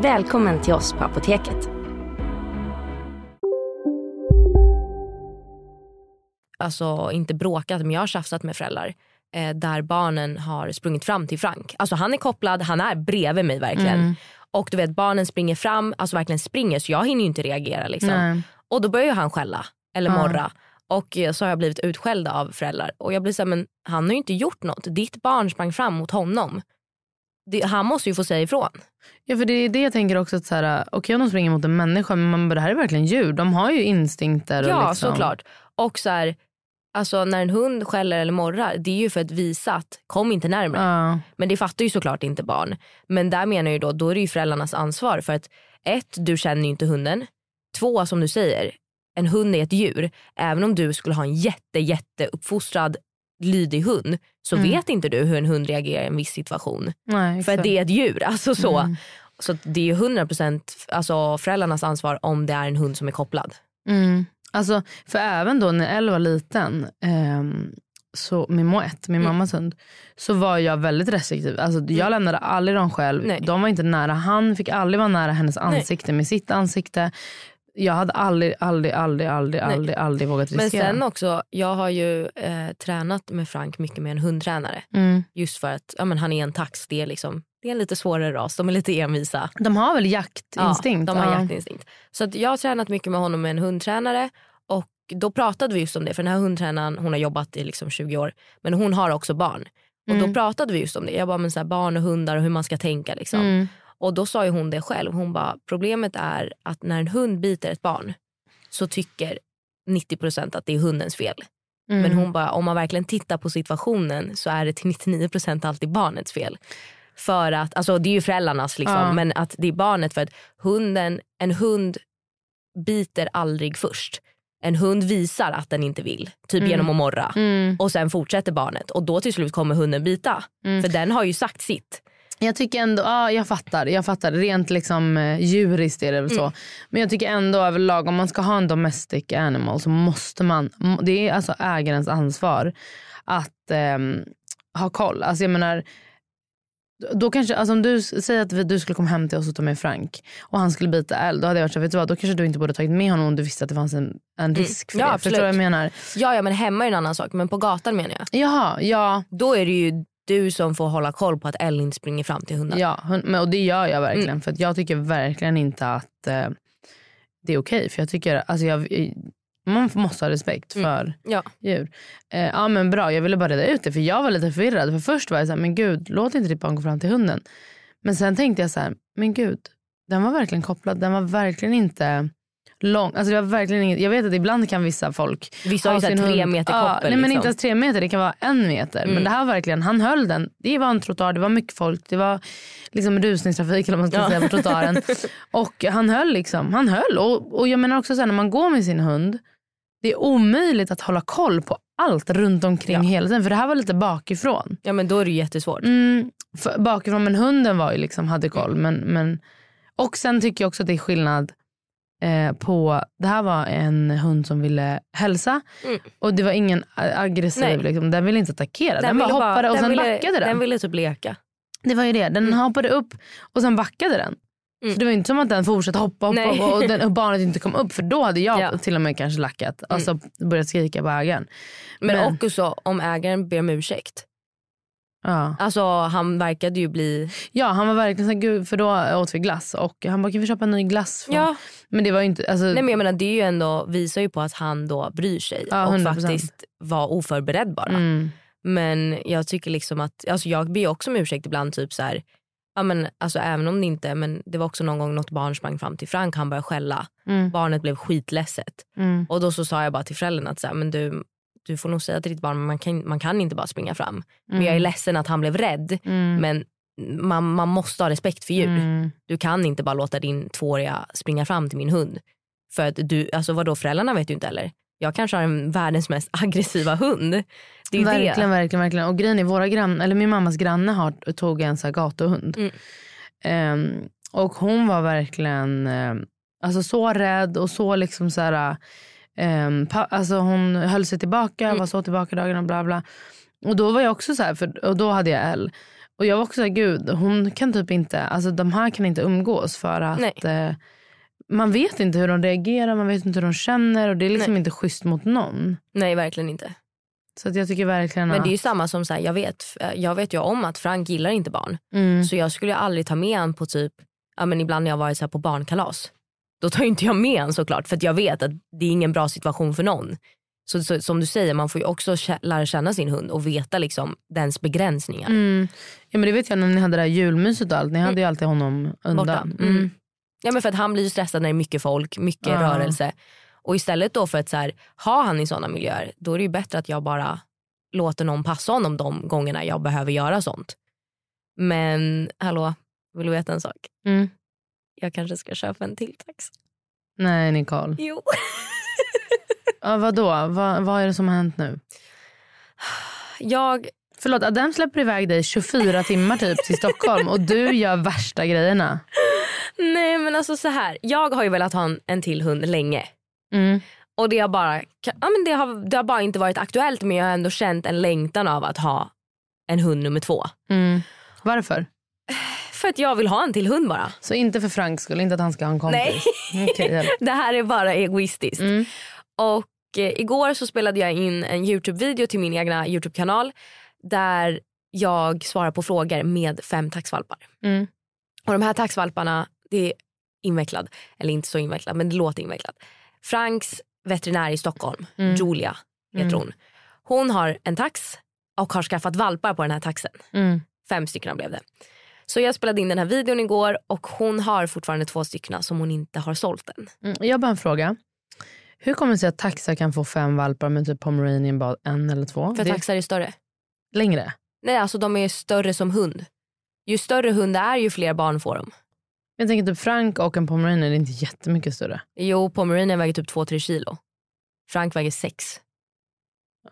E: Välkommen till oss på Apoteket.
C: alltså inte bråkat men jag har tjafsat med föräldrar eh, där barnen har sprungit fram till Frank. Alltså han är kopplad, han är bredvid mig verkligen. Och du vet barnen springer fram, alltså verkligen springer så jag hinner ju inte reagera liksom.
D: Nej.
C: Och då börjar ju han skälla eller morra. Och eh, så har jag blivit utskälld av föräldrar. Och jag blir såhär, men han har ju inte gjort något. Ditt barn sprang fram mot honom. Det, han måste ju få säga ifrån.
D: Ja för det är det jag tänker också att så här, okej om de springer mot en människa men man bara, det här är verkligen djur. De har ju instinkter och
C: Ja,
D: liksom.
C: såklart. Och så här, alltså när en hund skäller eller morrar, det är ju för att visa att kom inte närmare.
D: Ja.
C: Men det fattar ju såklart inte barn. Men där menar jag ju då, då är det ju föräldrarnas ansvar. För att ett, du känner ju inte hunden. Två, som du säger, en hund är ett djur. Även om du skulle ha en jätte, jätte uppfostrad lydig hund så vet inte du hur en hund reagerar i en viss situation.
D: Nej,
C: För
D: exakt.
C: att det är ett djur. Alltså så. Så att det är ju 100% alltså föräldrarnas ansvar om det är en hund som är kopplad.
D: Mm. Alltså, för även då när Elle var liten, ehm, så min Moët,
C: Mm.
D: min mammas hund, så var jag väldigt restriktiv. Alltså, Jag lämnade aldrig dem själv.
C: Nej.
D: De var inte nära. Han fick aldrig vara nära hennes ansikte med sitt ansikte. Jag hade aldrig, aldrig, aldrig, aldrig,
C: Nej.
D: aldrig, aldrig vågat
C: Men
D: riskera.
C: sen också, jag har ju eh, tränat med Frank mycket med en hundtränare.
D: mm.
C: Just för att ja, men han är en tax. Det är, liksom, det är en lite svårare ras. De är lite envisa.
D: De har väl jaktinstinkt?
C: Ja, de har jaktinstinkt. Så att jag har tränat mycket med honom med en hundtränare. Och då pratade vi just om det. För den här hundtränaren hon har jobbat i liksom 20 år. Men hon har också barn. Och då pratade vi just om det. Jag bara, men så här, barn och hundar och hur man ska tänka. Liksom.
D: Mm.
C: Och då sa ju hon det själv. Hon bara, problemet är att när en hund biter ett barn så tycker 90% att det är hundens fel.
D: Mm.
C: Men hon bara, om man verkligen tittar på situationen så är det till 99% alltid barnets fel. För att, alltså det är ju föräldrarnas liksom,
D: Ja.
C: men att det är barnet för att hunden, en hund biter aldrig först. En hund visar att den inte vill, typ genom att morra.
D: Mm.
C: Och sen fortsätter barnet och då till slut kommer hunden bita. För den har ju sagt sitt.
D: Jag tycker ändå, ja jag fattar, jag fattar. Rent liksom eh, djuriskt är det väl
C: Mm.
D: så. Men jag tycker ändå överlag om man ska ha en domestic animal så måste man, må- det är alltså ägarens ansvar att ehm, ha koll. Alltså jag menar, då kanske, alltså om du s- säger att vi, du skulle komma hem till oss och ta med Frank och han skulle bita eld, då hade jag varit så här, vet du vad, då kanske du inte borde ha tagit med honom om du visste att det fanns en, en risk för
C: Mm. Ja,
D: det.
C: absolut.
D: Förstår du vad jag menar?
C: Ja, ja men hemma är en annan sak men på gatan menar jag.
D: Jaha, ja.
C: Då är det ju du som får hålla koll på att Ellen springer fram till hunden.
D: Ja, hon- men, och det gör jag verkligen. För att jag tycker verkligen inte att eh, det är okej. för jag tycker, alltså jag, man måste ha respekt för
C: Ja.
D: djur. Eh, ja men bra, jag ville bara reda ut det. För jag var lite förvirrad. För först var jag så här, men gud, låt inte ditt barn gå fram till hunden. Men sen tänkte jag så här, men gud, den var verkligen kopplad. Den var verkligen inte lång. Alltså det var verkligen inget, jag vet att ibland kan vissa folk
C: Vissa har ju så här
D: sin
C: tre
D: hund-
C: meter
D: Ja,
C: koppel.
D: Nej men
C: liksom. Mm.
D: inte ens tre meter, det kan vara en meter. Men det här var verkligen, han höll den. Det var en trottoar, det var mycket folk, det var liksom rusningstrafik eller vad man ska säga
C: (laughs)
D: på trottoaren. och han höll liksom, han höll. Och, och jag menar också så här, när man går med sin hund, det är omöjligt att hålla koll på allt runt omkring hela tiden. För det här var lite bakifrån.
C: Ja men då är det ju jättesvårt.
D: Mm, för, bakifrån. Men hunden var ju liksom, hade koll. Men, men, och sen tycker jag också att det är skillnad eh, på, det här var en hund som ville hälsa
C: Mm.
D: och det var ingen a-
C: Nej.
D: aggressiv, liksom, den ville inte attackera. Den, bara
C: ville bara-
D: hoppade och sen
C: ville,
D: backade den.
C: Den ville typ leka.
D: Det var ju det, den hoppade upp och sen backade den.
C: Mm.
D: Så det var ju inte som att den fortsatte hoppa, hoppa,
C: Nej.
D: hoppa och, den, och barnet inte kom upp för då hade jag
C: Ja. Mm.
D: till och med kanske lackat. Alltså börjat skrika på ägaren.
C: Men,
D: Men-
C: och också om ägaren ber om ursäkt.
D: Ja.
C: Alltså han verkade ju bli...
D: Ja han var verkligen såhär, gud för då åt vi glass och han bara kan vi köpa en ny glass? Från? Men det var ju inte, alltså,
C: Nej men jag menar det är ju ändå, visar ju på att han då bryr sig
D: Ja,
C: och
D: 100%.
C: faktiskt var oförberedd bara.
D: mm,
C: Men jag tycker liksom att, alltså jag ber ju också om ursäkt ibland typ så här, ja men alltså även om det inte, men det var också någon gång något barn sprang fram till Frank, han började skälla.
D: mm,
C: Barnet blev skitledset.
D: mm,
C: Och då så sa jag bara till föräldrarna att så här, men du, du får nog säga till ditt barn, man kan, man kan inte bara springa fram. Men jag är ledsen att han blev rädd.
D: mm,
C: Men man, man måste ha respekt för djur.
D: mm,
C: Du kan inte bara låta din tvååriga springa fram till min hund. För att du, alltså vadå föräldrarna vet ju inte heller. Jag kanske har en världens mest (laughs) aggressiva hund. Det är
D: verkligen,
C: det.
D: verkligen, verkligen. Och grejen är, våra grann, eller min mammas granne har, tog en så här gatuhund.
C: Mm.
D: Ehm, och hon var verkligen ehm, alltså så rädd och så liksom så här, ehm, pa, alltså hon höll sig tillbaka,
C: Mm.
D: var så tillbaka dagarna och bla bla. Och då var jag också så här, för, och då hade jag L. Och jag var också så här, gud hon kan typ inte, alltså de här kan inte umgås för att eh, man vet inte hur de reagerar, man vet inte hur de känner och det är liksom inte schysst mot någon.
C: Nej verkligen inte.
D: Så att jag tycker verkligen
C: Men
D: att...
C: det är ju samma som så här, jag vet, jag vet ju om att Frank gillar inte barn.
D: Mm.
C: Så jag skulle ju aldrig ta med han på typ, ja men ibland när jag varit så här på barnkalas. Då tar ju inte jag med han såklart för att jag vet att det är ingen bra situation för någon. Så, så som du säger, man får ju också kä- lära känna sin hund och veta liksom dens begränsningar.
D: Mm. Ja, men det vet jag när ni hade det här julmyset och allt. Ni hade ju alltid honom
C: Mm. borta.
D: undan.
C: Mm. Ja, men för att han blir ju stressad när det är mycket folk, mycket
D: Ja.
C: rörelse. Och istället då för att så här, ha han i sådana miljöer, då är det ju bättre att jag bara låter någon passa honom de gångerna jag behöver göra sånt. Men hallå, vill du veta en sak?
D: Mm.
C: Jag kanske ska köpa en till tax. (laughs)
D: Nej, Nicole.
C: Jo.
D: Ja, vadå? Va, vad är det som har hänt nu?
C: Jag,
D: Förlåt, Adam släpper iväg dig 24 timmar typ till Stockholm och du gör värsta grejerna.
C: nej men alltså så här, jag har ju velat ha en, en till hund länge.
D: Mm.
C: Och det har, bara, ja, men det, har, det har bara inte varit aktuellt men jag har ändå känt en längtan av att ha en hund nummer två.
D: Mm. Varför?
C: För att jag vill ha en till hund bara.
D: Så inte för Franks skull, inte att han ska ha en kompis? Nej.
C: (laughs)
D: Okej, hjälp.
C: Det här är bara egoistiskt.
D: mm.
C: Och eh, igår så spelade jag in en Youtube-video till min egna Youtube-kanal där jag svarar på frågor med fem taxvalpar.
D: Mm.
C: Och de här taxvalparna, det är invecklad, eller inte så invecklad men det låter invecklat. Franks veterinär i Stockholm,
D: Mm.
C: Julia heter
D: Mm.
C: hon. Hon har en tax och har skaffat valpar på den här taxen.
D: Mm.
C: Fem stycken blev det. Så jag spelade in den här videon igår och hon har fortfarande två stycken som hon inte har sålt än.
D: Mm. Jag har bara en fråga. Hur kommer det sig att taxar kan få fem valpar men typ pomeranian bara en eller två?
C: För
D: det är
C: taxar är större.
D: längre?
C: Nej, alltså de är större som hund. Ju större hund är ju fler barn får de.
D: Jag tänker typ Frank och en pomeranian är inte jättemycket större.
C: Jo, pomeranian väger typ 2-3 kilo. Frank väger 6.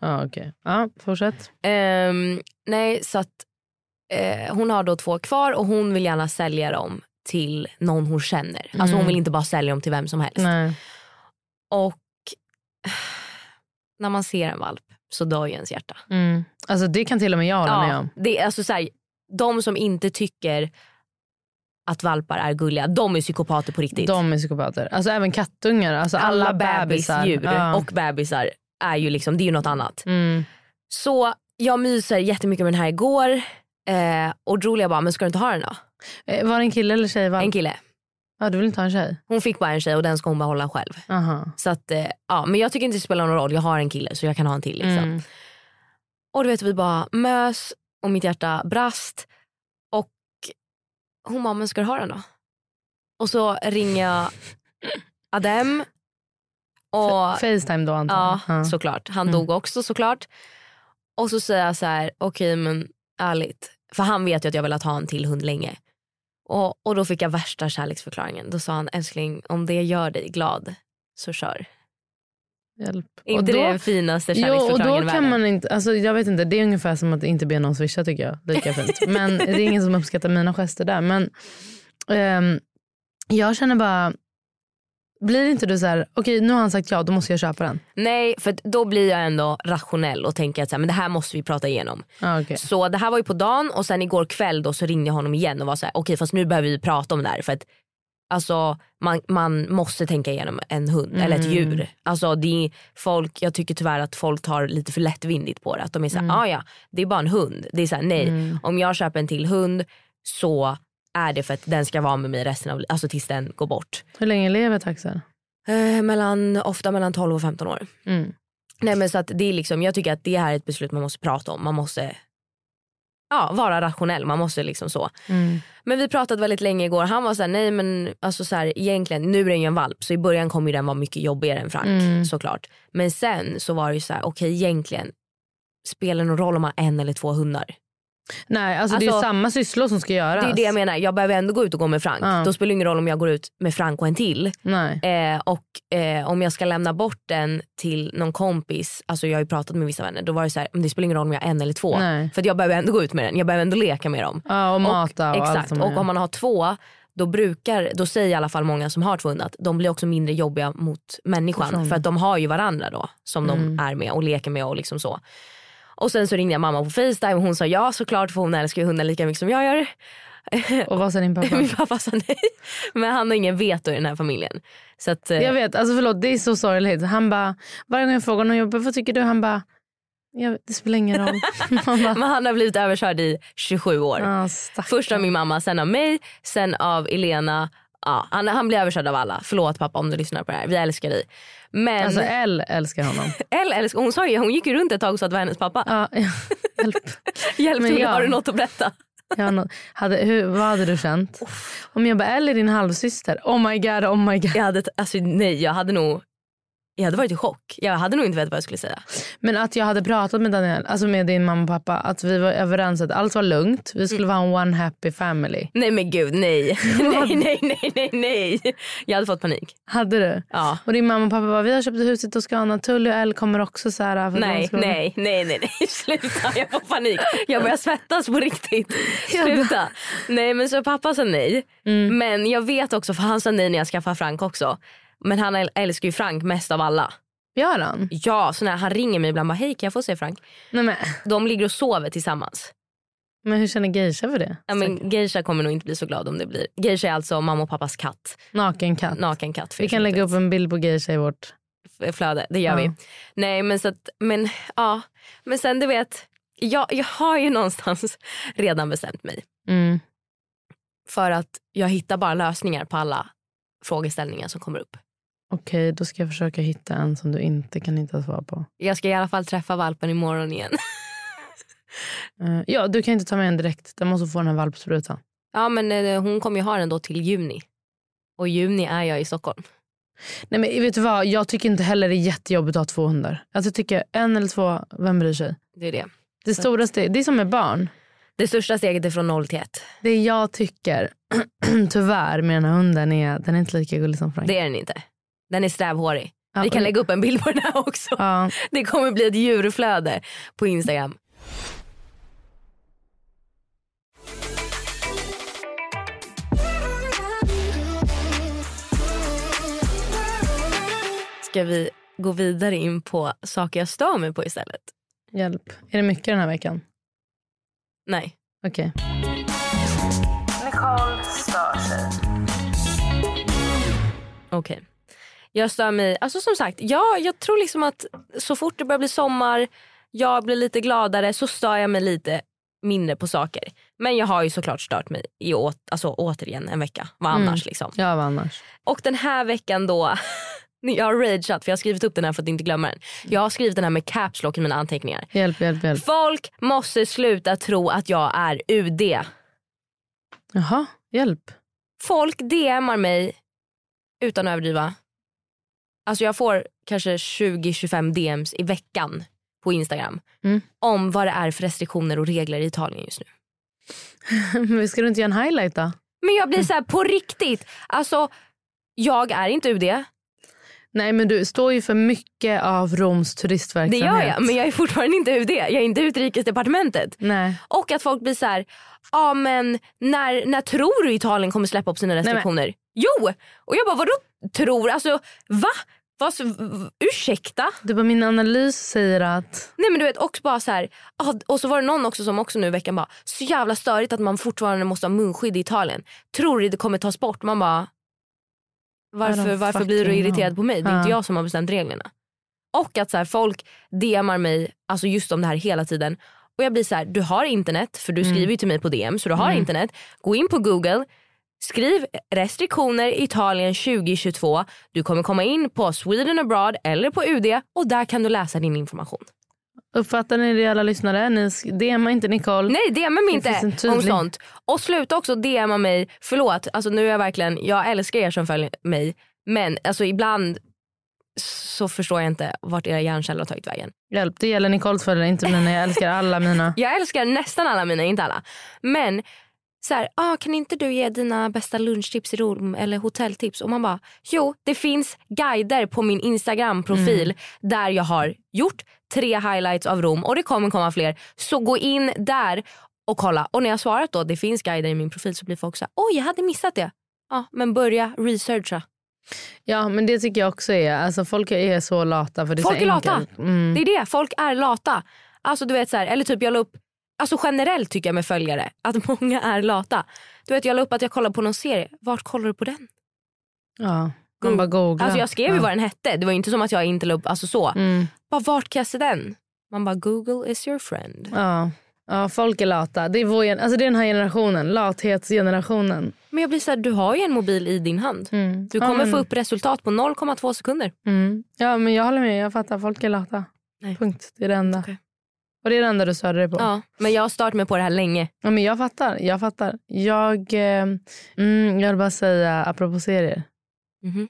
D: Ja, okej. Ja, fortsätt.
C: Ehm, nej, så att eh, hon har då två kvar och hon vill gärna sälja dem till någon hon känner. Alltså hon
D: Mm.
C: vill inte bara sälja dem till vem som helst.
D: Nej.
C: Och när man ser en valp så dör ju ens hjärta.
D: Mm. Alltså det kan till och med jag hålla med om.
C: det är alltså så här, de som inte tycker att valpar är gulliga, de är psykopater på riktigt.
D: De är psykopater. Alltså även kattungar. Alltså alla,
C: alla
D: bebisar.
C: bebisdjur
D: Ja.
C: och bebisar är ju liksom, det är ju något annat.
D: Mm.
C: Så jag myser jättemycket med den här igår eh, och Julia bara, men ska du inte ha den då?
D: Eh, Var det en kille eller tjej? Var...
C: En kille.
D: Ja, du vill inte ha en tjej?
C: Hon fick bara en tjej och den ska hon behålla själv.
D: Aha.
C: Så att, eh, ja, men jag tycker inte det spelar någon roll, jag har en kille så jag kan ha en till. Liksom.
D: Mm.
C: Och du vet vi bara mös och mitt hjärta brast. Och hon bara, men ska du ha den då? Och så ringer
D: (laughs)
C: jag Adem. Och
D: Facetime då antar
C: Ja,
D: jag. Ja.
C: såklart. Han
D: Mm.
C: dog också såklart. Och så säger jag så här, okej men ärligt. För han vet ju att jag velat ha en till hund länge. Och, och då fick jag värsta kärleksförklaringen. Då sa han, älskling om det gör dig glad så kör.
D: Hjälp.
C: Inte
D: och då,
C: den finaste
D: jo, och
C: kärleksförklaringen
D: då
C: i
D: kan
C: världen.
D: man inte, alltså jag vet inte, det är ungefär som att inte be någon swisha tycker jag.
C: (laughs)
D: Lika fint. Men det är ingen som uppskattar mina gester där. Men ehm, jag känner bara, blir inte du så här, okej nu har han sagt ja, då måste jag köpa den.
C: Nej, för att då blir jag ändå rationell och tänker att så här, men det här måste vi prata igenom.
D: Ah, okej.
C: Så det här var ju på dagen och sen igår kväll då så ringde jag honom igen och var så här, okej fast nu behöver vi prata om det här för att alltså, man, man måste tänka igenom en hund eller ett djur. Alltså, det är folk, jag tycker tyvärr att folk tar lite för lättvindigt på det. Att de är så här, ah, ja det är bara en hund. Det är så här, nej om jag köper en till hund så är det för att den ska vara med mig resten av alltså tills den går bort.
D: Hur länge lever taxen?
C: Eh, mellan, ofta mellan 12 och 15 år.
D: Mm.
C: Nej men så att det är liksom, jag tycker att det här är ett beslut man måste prata om. Man måste ja, vara rationell, man måste liksom så.
D: Mm.
C: Men vi pratade väldigt länge igår, han var såhär, nej men alltså så här, egentligen, nu är det ju en valp så i början kommer ju den vara mycket jobbigare än Frank
D: Mm.
C: såklart. Men sen så var det ju såhär, okej egentligen spelar det någon roll om man har en eller två hundar?
D: Nej, alltså, det är ju
C: Alltså,
D: samma sysslor som ska göras.
C: Det är ju det jag menar, jag behöver ändå gå ut och gå med Frank.
D: Ja.
C: Då spelar det ingen roll om jag går ut med Frank och en till.
D: Nej.
C: Eh, och eh, om jag ska lämna bort den till någon kompis, alltså jag har ju pratat med vissa vänner, då var det så här, "Men det spelar ingen roll om jag har en eller två.
D: Nej.
C: För att jag behöver ändå gå ut med den, jag behöver ändå leka med dem.
D: Ja, och mata och allt
C: exakt,
D: som man
C: och
D: gör.
C: om man har två, då brukar, då säger i alla fall många som har två hundar att de blir också mindre jobbiga mot människan.
D: Personer.
C: För att de har ju varandra då som
D: Mm.
C: de är med och leker med och liksom så. Och sen så ringde jag mamma på Facetime och hon sa ja såklart för hon älskar ju hundar lika mycket som jag gör. (laughs)
D: Och vad sa din pappa?
C: Min pappa sa nej. Men han har ingen veto i den här familjen. Så att, eh,
D: (laughs) Jag vet, alltså förlåt det är så sorgligt. Han bara, varje gång jag frågar honom, jag bara, vad tycker du? Han bara, "Jag- det spelar ingen roll. (laughs) Man bara,
C: Men han har blivit överkörd i 27 år.
D: ah, stack.
C: Först av min mamma, sen av mig, sen av Elena. Ja, han, han blir överkörd av alla. Förlåt pappa om du lyssnar på det här. Vi älskar dig. Men
D: Alltså L älskar honom.
C: Elle älskar, hon sa ju, hon gick ju runt ett tag och sa att det var hennes pappa.
D: Ja, (laughs) hjälp.
C: Hjälp
D: men
C: till,
D: jag-
C: har du något att berätta?
D: Jag har nå- hade, hur, vad hade du känt? Om jag bara, L är din halvsyster. Oh my god, oh my god.
C: Jag hade, alltså, nej, jag hade nog jag hade varit i chock. Jag hade nog inte vetat vad jag skulle säga.
D: Men att jag hade pratat med Daniel, alltså med din mamma och pappa, att vi var överens att allt var lugnt. Vi skulle
C: Mm.
D: vara en one happy family.
C: Nej men gud, nej. (laughs) nej, nej, nej, nej, nej. Jag hade fått panik.
D: Hade du?
C: Ja.
D: Och din mamma och pappa bara, vi har köpt ett hus i Toscana, Tully och L kommer också så här. för att de
C: Nej,
D: ska vara-
C: nej, nej, nej, nej, (laughs) sluta. Jag får panik. Jag börjar svettas på riktigt.
D: (laughs)
C: Sluta. Nej men så pappa sa nej.
D: Mm.
C: Men jag vet också, för han sa nej när jag skaffade Frank också. Men han äl- älskar ju Frank mest av alla.
D: Gör han?
C: Ja, så när han ringer mig ibland bara hej kan jag få se Frank?
D: Nej, men,
C: De ligger och sover tillsammans.
D: men hur känner Geisha för det?
C: Ja, men Geisha kommer nog inte bli så glad om det blir. Geisha är alltså mamma och pappas katt.
D: Naken katt.
C: Naken katt. för er
D: Vi
C: som
D: kan lägga
C: inte
D: upp en bild på Geisha i vårt...
C: f- flöde. Det gör
D: Ja.
C: vi. Nej men så att, men ja. Men sen du vet, jag, jag har ju någonstans redan bestämt mig.
D: Mm.
C: För att jag hittar bara lösningar på alla frågeställningar som kommer upp.
D: Okej, då ska jag försöka hitta en som du inte kan hitta svar på.
C: Jag ska i alla fall träffa valpen imorgon igen. (laughs)
D: Eh, ja, du kan inte ta med en direkt. Den måste få den här valpsprutan.
C: Ja men eh, hon kommer ju ha den då till juni. Och i juni är jag i Stockholm.
D: Nej, men vet du vad? Jag tycker inte heller det är jättejobbigt att ha två hundar. Alltså, jag tycker en eller två, vem bryr sig?
C: Det är det.
D: Det stora steget, det är som med barn.
C: Det största steget är från noll till ett.
D: Det jag tycker, (clears throat) tyvärr, med den här hunden är att den är inte lika gullig som Frank.
C: Det är den inte. Den är strävhårig.
D: Ja,
C: Vi
D: och-
C: kan lägga upp en bild på den här också.
D: Ja,
C: (laughs) Det kommer bli ett djurflöde på Instagram. Ska vi gå vidare in på saker jag stör mig på istället?
D: hjälp. Är det mycket den här veckan?
C: Nej.
D: Okej.
C: Okej. Jag stör mig, alltså som sagt, ja, jag tror liksom att så fort det börjar bli sommar, jag blir lite gladare, så stör jag mig lite mindre på saker. Men jag har ju såklart stört mig i å, alltså, återigen en vecka. Vad
D: Mm.
C: annars liksom.
D: Ja, vad annars?
C: Och den här veckan då, (laughs) jag har rageat för jag har skrivit upp den här för att inte glömma den.
D: Mm.
C: Jag har skrivit den här med caps lock i mina anteckningar.
D: Hjälp, hjälp, hjälp.
C: Folk måste sluta tro att jag är UD.
D: Jaha, hjälp. (laughs)
C: Folk DMar mig utan att överdriva. Alltså jag får kanske 20-25 DMs i veckan på Instagram
D: Mm.
C: om vad det är för restriktioner och regler i Italien just nu.
D: Men ska du inte göra en highlight då?
C: Men jag blir så här på riktigt. Alltså jag är inte UD.
D: Nej men du står ju för mycket av Roms
C: Det
D: turistverksamhet.
C: gör jag, men jag är fortfarande inte UD. Jag är inte utrikesdepartementet.
D: Nej.
C: Och att folk blir så här, ja men när, när tror du Italien kommer släppa upp sina restriktioner? Jo! Och jag bara, vadå tror? Alltså va? Vad, s- v- ursäkta?
D: Du bara, min analys säger att...
C: Nej men du vet också bara så här, ah, och så var det någon också som också nu i veckan bara, så jävla störigt att man fortfarande måste ha munskydd i Italien. Tror du det kommer tas bort? Man bara,
D: I
C: varför,
D: don't
C: varför blir du
D: fucking
C: irriterad på mig? Det är
D: Ja.
C: inte jag som har bestämt reglerna. Och att så här, folk DMar mig alltså just om det här hela tiden. Och jag blir så här, du har internet för du
D: Mm.
C: skriver ju till mig på DM så du har internet. Gå in på google, skriv restriktioner Italien 2022. Du kommer komma in på Sweden abroad eller på UD och där kan du läsa din information.
D: Uppfattar ni det alla lyssnare? Ni sk- DMa inte Nicole.
C: Nej DMa mig
D: Det finns en
C: inte
D: tydlig-
C: om sånt. Och sluta också DMa mig, förlåt, alltså nu är jag verkligen, jag älskar er som följer mig men alltså ibland så förstår jag inte vart era hjärnceller har tagit vägen.
D: Hjälp, det gäller Nicoles följare, inte mina. Jag älskar alla mina.
C: Jag älskar nästan alla mina, inte alla. Men så här, ah, kan inte du ge dina bästa lunchtips i Rom eller hotelltips? Och man bara, jo det finns guider på min Instagram-profil där jag har gjort tre highlights av Rom och det kommer komma fler. Så gå in där och kolla. Och när jag svarat då det finns guider i min profil så blir folk så här, oj jag hade missat det. Ja, men börja researcha.
D: Ja men det tycker jag också är, alltså folk är så lata för det är
C: Folk
D: så
C: är lata.
D: enkelt. Mm.
C: Det är det, folk är lata. Alltså du vet så här, eller typ jag la upp, alltså generellt tycker jag med följare att (laughs) många är lata. Du vet jag la upp att jag kollar på någon serie, vart kollar du på den?
D: Ja, man bara googla.
C: Alltså jag skrev ju
D: ja.
C: vad den hette, det var ju inte som att jag inte la upp, alltså så.
D: Mm.
C: Bara vart kan jag se den? Man bara Google is your friend.
D: Ja. ja, folk är lata. Det är, vår, gen- alltså det är den här generationen, lathetsgenerationen.
C: Men jag blir så här, du har ju en mobil i din hand.
D: Mm.
C: Du
D: Ja,
C: kommer
D: men-
C: få upp resultat på 0,2 sekunder.
D: Mm. Ja men jag håller med, jag fattar. Folk är lata.
C: Nej.
D: Punkt, det är det enda.
C: Okej.
D: Och det är det enda du störde dig på.
C: Ja, men jag har stört mig på det här länge.
D: Ja, men jag fattar. Jag fattar. Jag, eh, mm, jag vill bara säga, apropå serier.
C: Mhm.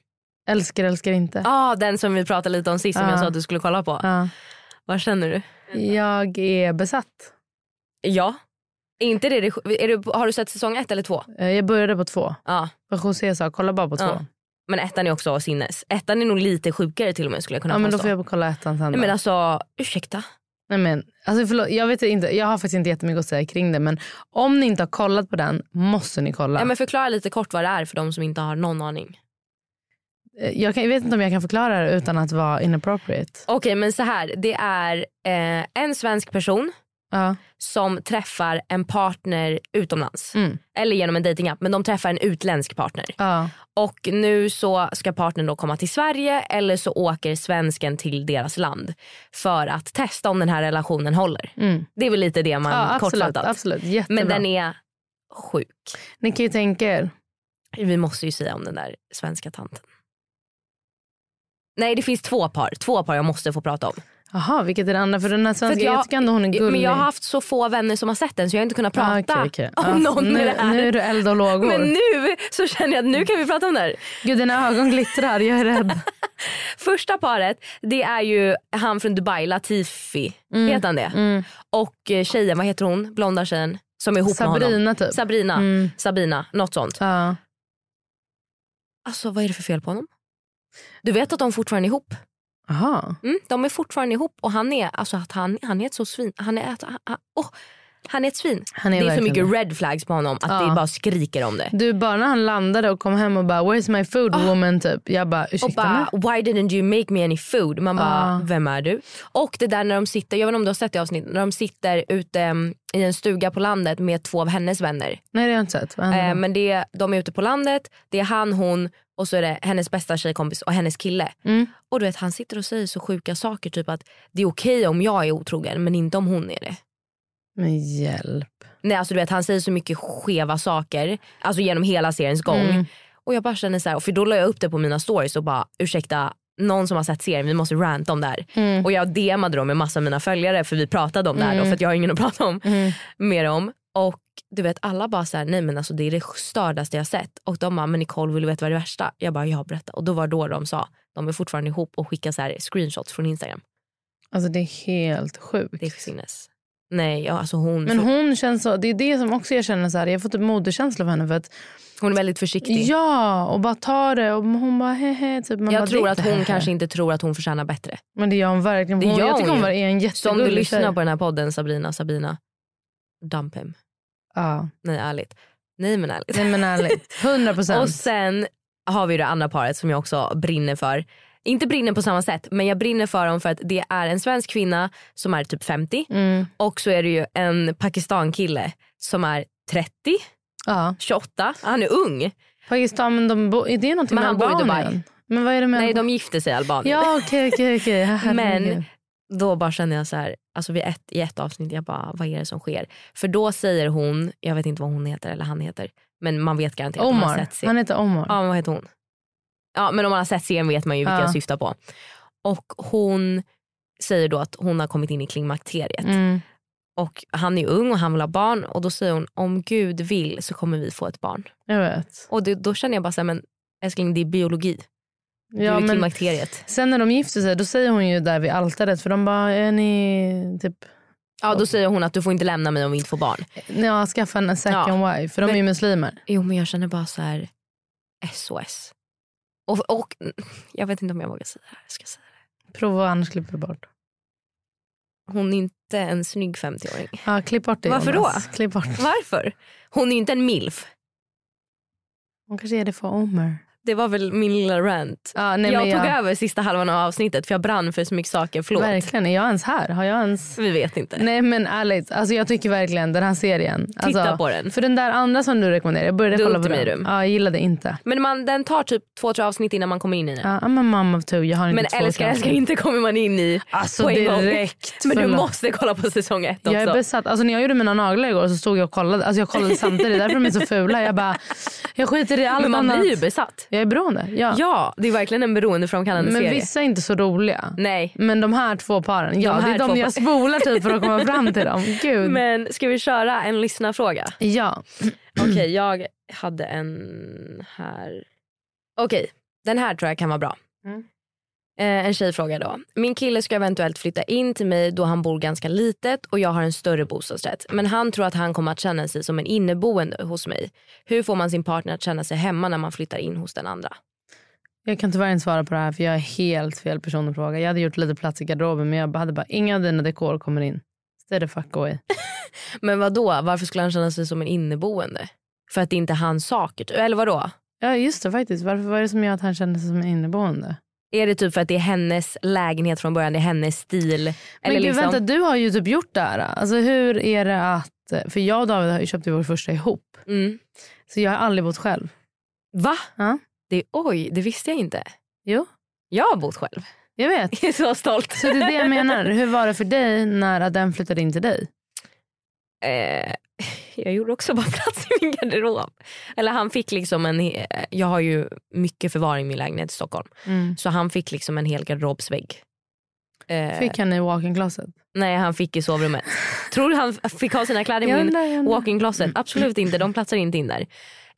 D: Älskar, älskar inte.
C: Ah, den som vi pratade lite om sist som
D: Ja.
C: jag sa att du skulle kolla på.
D: Ja.
C: Vad känner du?
D: Jag är besatt.
C: Ja. Är Inte det, det- är du, har du sett säsong ett eller två?
D: Eh, Jag började på två.
C: Ja,
D: Vad José sa, kolla bara på två.
C: Ja,
D: Ja,
C: men ettan är också sinnes. Ettan är nog lite sjukare till och med skulle jag kunna
D: men då
C: påstå.
D: får jag kolla ettan sen.
C: Nej,
D: då.
C: men alltså, ursäkta.
D: Nej, men, alltså, förlåt, jag, vet inte, jag har faktiskt inte jättemycket att säga kring det men om ni inte har kollat på den måste ni kolla.
C: Ja, men förklara lite kort vad det är för de som inte har någon aning.
D: Eh, jag, kan, jag vet inte om jag kan förklara det utan att vara inappropriate.
C: Okej men så här, det är eh, en svensk person
D: Ja.
C: som träffar en partner utomlands.
D: Mm.
C: Eller genom en datingapp men de träffar en utländsk partner.
D: Ja.
C: Och nu så ska partnern då komma till Sverige eller så åker svensken till deras land för att testa om den här relationen håller.
D: Mm.
C: Det är väl lite det man
D: ja, absolut.
C: kortfattat.
D: absolut. Jättebra.
C: Men den är sjuk.
D: Ni kan ju tänka er.
C: Vi måste ju säga om den där svenska tanten. Nej det finns två par, två par jag måste få prata om.
D: Jaha, vilket är det andra? För den här svenska,
C: att jag-
D: jag, tycker ändå hon är gullig.
C: Men jag har haft så få vänner som har sett den så jag har inte kunnat
D: Ah,
C: prata
D: okej, okej.
C: om
D: Ah,
C: någon
D: nu,
C: med det här.
D: nu är du eld och lågor.
C: men nu så känner jag att nu kan vi prata om det här.
D: Gud, dina ögon glittrar. Jag
C: (laughs)
D: är rädd.
C: Första paret det är ju han från Dubai, Latifi. Heter han det?
D: Mm.
C: Och eh, tjejen, vad heter hon? Blonda tjejen som är ihop med honom.
D: Sabrina, typ.
C: Sabrina.
D: Mm.
C: Sabina, något sånt.
D: Ja.
C: Alltså vad är det för fel på honom? Du vet att de fortfarande är ihop?
D: Aha.
C: Mm, de är fortfarande ihop och han är, alltså, att han, han är ett så svin. Han är ett, han, han- åh, han är ett svin.
D: Han är
C: det är så
D: verkligen
C: mycket
D: det.
C: red flags på honom att
D: Ja.
C: det bara skriker om det.
D: Du, bara när han landade och kom hem och bara “Where's my food woman?” typ. Jag bara
C: Ah. Och
D: “Ursäkta mig?”
C: bara, why didn't you make me any food? Man bara,
D: Ja.
C: vem är du? Och det där när de sitter, jag vet inte om du har sett det avsnittet, när de sitter ute mm, i en stuga på landet med två av hennes vänner.
D: Nej det har jag inte sett. Vad händer
C: Eh,
D: då?
C: men det, de är ute på landet, det är han, hon och så är det hennes bästa tjejkompis och hennes kille.
D: Mm.
C: Och du vet han sitter och säger så sjuka saker, typ att det är okej om jag är otrogen men inte om hon är det.
D: Men hjälp.
C: Nej, alltså du vet, han säger så mycket skeva saker alltså genom hela seriens gång.
D: Mm.
C: Och jag bara känner så här, och för då la jag upp det på mina stories och bara ursäkta någon som har sett serien, vi måste ranta om det här.
D: Mm.
C: Och jag DMade dem med massa av mina följare för vi pratade om det här då, för att jag har ingen att prata om
D: Mm.
C: mer om. Och du vet alla bara så här, nej men alltså det är det stördaste jag sett. Och de bara, men Nicole vill du veta vad det värsta? Jag bara, ja berätta. Och då var då de sa, de är fortfarande ihop och skickar så här screenshots från Instagram.
D: Alltså det är helt sjukt.
C: Det är sinnes. Nej, ja, alltså hon,
D: Men hon känns så, det är det som också jag känner så här, jag får typ moderkänsla för henne för att
C: hon är väldigt försiktig.
D: ja och bara tar det och hon bara hehe typ man bara,
C: jag tror
D: det-
C: att hon kanske inte tror att hon förtjänar bättre.
D: Men det gör hon verkligen.
C: Det
D: Hon,
C: gör
D: jag
C: hon
D: tycker hon
C: ju.
D: var- är en
C: Så om du
D: jättegullig
C: lyssnar
D: tjej.
C: på den här podden Sabrina, Sabina, dump him.
D: Ja.
C: Nej ärligt. Nej men ärligt.
D: Nej men ärligt, 100
C: Och
D: procent.
C: sen har vi det andra paret som jag också brinner för. Inte brinner på samma sätt men jag brinner för dem för att det är en svensk kvinna som är typ 50
D: Mm.
C: och så är det ju en Pakistan-kille som är 30,
D: Ja.
C: 28, han är ung.
D: Pakistan, men de bo, är det någonting
C: Men
D: med
C: han bor i
D: Albanien?
C: Dubai.
D: Men vad är det med
C: Nej
D: Albanien?
C: de gifte sig i Albanien.
D: Ja okej okej okej. Herregud.
C: Men då bara känner jag så här, alltså vid ett, i ett avsnitt, jag bara vad är det som sker? För då säger hon, jag vet inte vad hon heter eller han heter, men man vet garanterat om man har
D: Omar,
C: sett serien.
D: han heter Omar.
C: Ja men vad heter hon? Ja men om man har sett serien vet man ju vilka
D: Ja.
C: jag syftar på. Och hon säger då att hon har kommit in i klimakteriet.
D: Mm.
C: Och han är ung och han vill ha barn och då säger hon om gud vill så kommer vi få ett barn.
D: Jag vet.
C: Och det, då känner jag bara så här, men älskling det är biologi. Du
D: Ja,
C: är i
D: men
C: klimakteriet.
D: sen när de gifter sig då säger hon ju där vid altaret för de bara är ni typ
C: Ja då säger hon att du får inte lämna mig om vi inte får barn.
D: ja, skaffa en second wife för de är ju muslimer.
C: Jo men jag känner bara så här SOS. Och, och (laughs) jag vet inte om jag vågar säga det här. Ska jag säga.
D: Prova annars klipper vi bort.
C: det? Hon är inte en snygg
D: (laughs)
C: 50-åring.
D: Ja, klipp bort det
C: Varför
D: Jonas.
C: då?
D: Klipp bort.
C: Varför? Hon är inte en milf.
D: Hon kanske är det för Omar.
C: Det var väl min lilla rant.
D: Ja, nej,
C: jag
D: men
C: tog över sista halvan av avsnittet för jag brann för så mycket saker. Förlåt.
D: Verkligen, är jag ens här? Har jag ens...
C: Vi vet inte.
D: Nej men ärligt, alltså jag tycker verkligen den här serien. Alltså,
C: på den.
D: För den där andra som du rekommenderade, jag började
C: The
D: kolla på den.
C: Ultimatum.
D: Ja, jag gillade inte.
C: Men man, den tar typ två, tre avsnitt innan man kommer in i den.
D: Ja, I'm a mom of two, jag har inte
C: Men
D: två
C: älskar, älskar
D: avsnitt.
C: inte kommer man in i
D: Alltså
C: på en gång.
D: direkt.
C: Men du
D: förlåt.
C: måste kolla på säsong ett också.
D: Jag är besatt. Alltså när jag gjorde mina naglar igår så stod jag och kollade. Alltså jag kollade samtidigt, därför de är så fula. Jag bara, jag skiter i allt
C: Men man
D: annat.
C: blir ju besatt.
D: Jag är beroende. Ja.
C: Ja, det är verkligen en beroendeframkallande
D: men
C: serie.
D: vissa är inte så roliga.
C: Nej.
D: Men de här två paren, ja
C: De
D: det
C: här
D: är de
C: två
D: jag
C: par-
D: spolar typ för att komma fram
C: (laughs)
D: till dem. Gud.
C: Men ska vi köra en lyssnarfråga?
D: Ja.
C: Okej, jag hade en här. Okej, den här tror jag kan vara bra.
D: Mm.
C: Eh, en tjejfråga då. Min kille ska eventuellt flytta in till mig då han bor ganska litet och jag har en större bostadsrätt. Men han tror att han kommer att känna sig som en inneboende hos mig. Hur får man sin partner att känna sig hemma när man flyttar in hos den andra?
D: Jag kan tyvärr inte svara på det här för jag är helt fel person att fråga. Jag hade gjort lite plats i garderoben men jag hade bara, inga av dina dekor kommer in. Stay the fuck away.
C: Men vad då? varför skulle han känna sig som en inneboende? För att det inte är hans saker? Eller vadå?
D: Ja just det faktiskt, varför var det som gör att han kände sig som en inneboende?
C: Är det typ för att det är hennes lägenhet från början, det är hennes stil?
D: Men
C: Eller
D: gud
C: liksom-
D: vänta, du har ju typ gjort det här. Alltså hur är det att, för jag och David har ju köpt vår första ihop.
C: Mm.
D: Så jag har aldrig bott själv.
C: Va?
D: Ja.
C: Det, oj, det visste jag inte.
D: Jo,
C: Jag har bott själv. (laughs)
D: jag vet.
C: Jag är så stolt.
D: Så det är det jag menar. Hur var det för dig när den flyttade in till dig?
C: (laughs) Eh, jag gjorde också bara (laughs) plats i min garderob. Eller han fick liksom en, he- jag har ju mycket förvaring i min lägenhet i Stockholm. Så han fick liksom en hel garderobsvägg. Eh,
D: Fick han i walk-in closet?
C: Nej han fick i sovrummet. Tror du han f- fick ha sina kläder i min walk-in closet? Absolut inte, de platsar inte in där. Eh,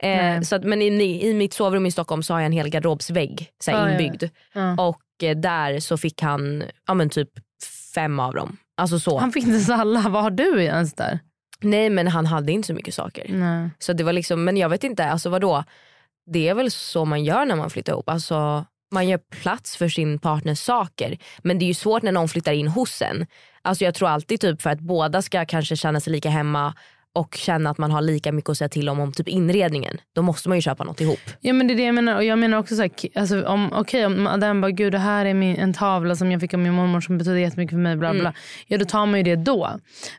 D: Mm. Nej.
C: så att, men i, i mitt sovrum i Stockholm så har jag en hel garderobsvägg så
D: Ja,
C: här
D: Ah, ja, ja.
C: inbyggd.
D: Ja.
C: Och eh, där så fick han ja, men typ fem av dem. Alltså så.
D: Han fick inte ens alla. Vad har du ens där?
C: Nej men han hade inte så mycket saker.
D: Nej.
C: Så det var liksom, men jag vet inte, alltså vadå? Det är väl så man gör när man flyttar ihop. Alltså, man gör plats för sin partners saker. Men det är ju svårt när någon flyttar in hos en. Alltså jag tror alltid typ för att båda ska kanske känna sig lika hemma och känna att man har lika mycket att säga till om om typ inredningen. Då måste man ju köpa något ihop.
D: Ja, men det är det jag menar. Och jag menar också så här, ki- alltså, om, okej om den bara, gud det här är min, en tavla som jag fick av min mormor som betyder jättemycket för mig, bla bla. Ja då tar man ju det då.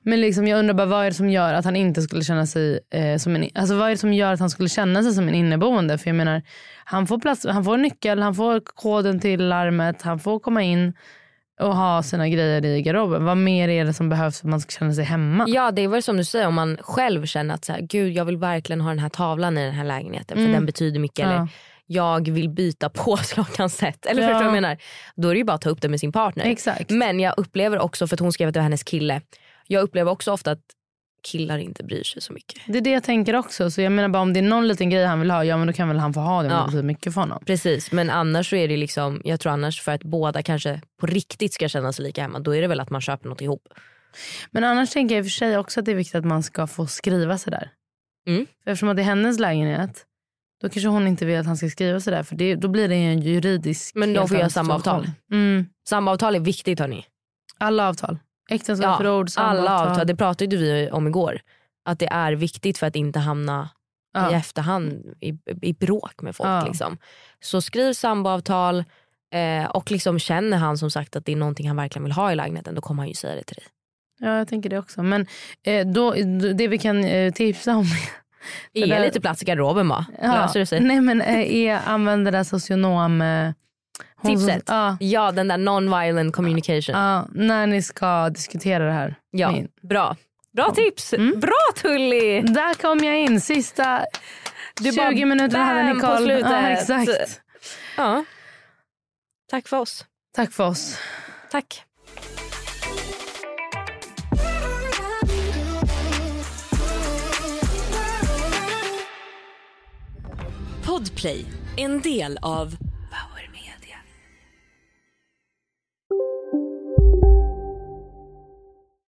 D: Men liksom, jag undrar bara vad är det som gör att han inte skulle känna sig eh, som en, alltså vad är det som gör att han skulle känna sig som en inneboende? För jag menar, han får plats, han får nyckel, han får koden till larmet, han får komma in och ha sina grejer i garderoben. Vad mer är det som behövs för att man ska känna sig hemma?
C: Ja det är väl som du säger om man själv känner att så här, gud jag vill verkligen ha den här tavlan i den här lägenheten för
D: Mm.
C: den betyder mycket.
D: Ja.
C: Eller jag vill byta (laughs) påslakansätt. Eller förstår du
D: Ja.
C: vad jag menar? Då är det ju bara att ta upp det med sin partner.
D: Exakt.
C: Men jag upplever också, för att hon skrev att det var hennes kille. Jag upplever också ofta att killar inte bryr sig så mycket.
D: Det är det jag tänker också. Så jag menar bara om det är någon liten grej han vill ha, ja men då kan väl han få ha det om
C: Ja.
D: det betyder mycket för honom.
C: Precis, men annars så är det liksom, jag tror annars för att båda kanske på riktigt ska känna sig lika hemma, då är det väl att man köper något ihop.
D: Men annars tänker jag i och för sig också att det är viktigt att man ska få skriva sådär.
C: Mm.
D: För eftersom att det är hennes lägenhet, då kanske hon inte vill att han ska skriva sådär. För det, då blir det ju en juridisk...
C: Men de
D: helt
C: får göra
D: annan
C: samavtal.
D: situation. Mm.
C: Samavtal är viktigt hörni.
D: Alla avtal.
C: Ja,
D: Äktenskapsförord, samavtal.
C: Alla avtal, det pratade ju vi om igår. Att det är viktigt för att inte hamna i
D: Ja.
C: efterhand i, i bråk med folk.
D: Ja.
C: Liksom. Så skriv samboavtal eh, och liksom känner han som sagt att det är någonting han verkligen vill ha i lägenheten då kommer han ju säga det till dig.
D: ja, jag tänker det också. Men eh, då, det vi kan eh, tipsa om
C: Ge
D: där-
C: lite plats i garderoben bara, löser det sig.
D: Nej men eh, är använda det här socionom... Eh, hon som-
C: Tipset.
D: Ja,
C: Ja den där non-violent communication.
D: ja, när ni ska diskutera det här.
C: Ja,
D: Min. Mm.
C: bra. Bra tips! Bra Tully!
D: Där kom jag in, sista
C: Du
D: 20
C: bara
D: minuterna hade
C: bam
D: ni
C: på
D: koll.
C: slutet.
D: Ja, exakt.
C: Ja. Tack för oss.
D: Tack för oss.
C: Tack.
F: Podplay, en del av Power Media.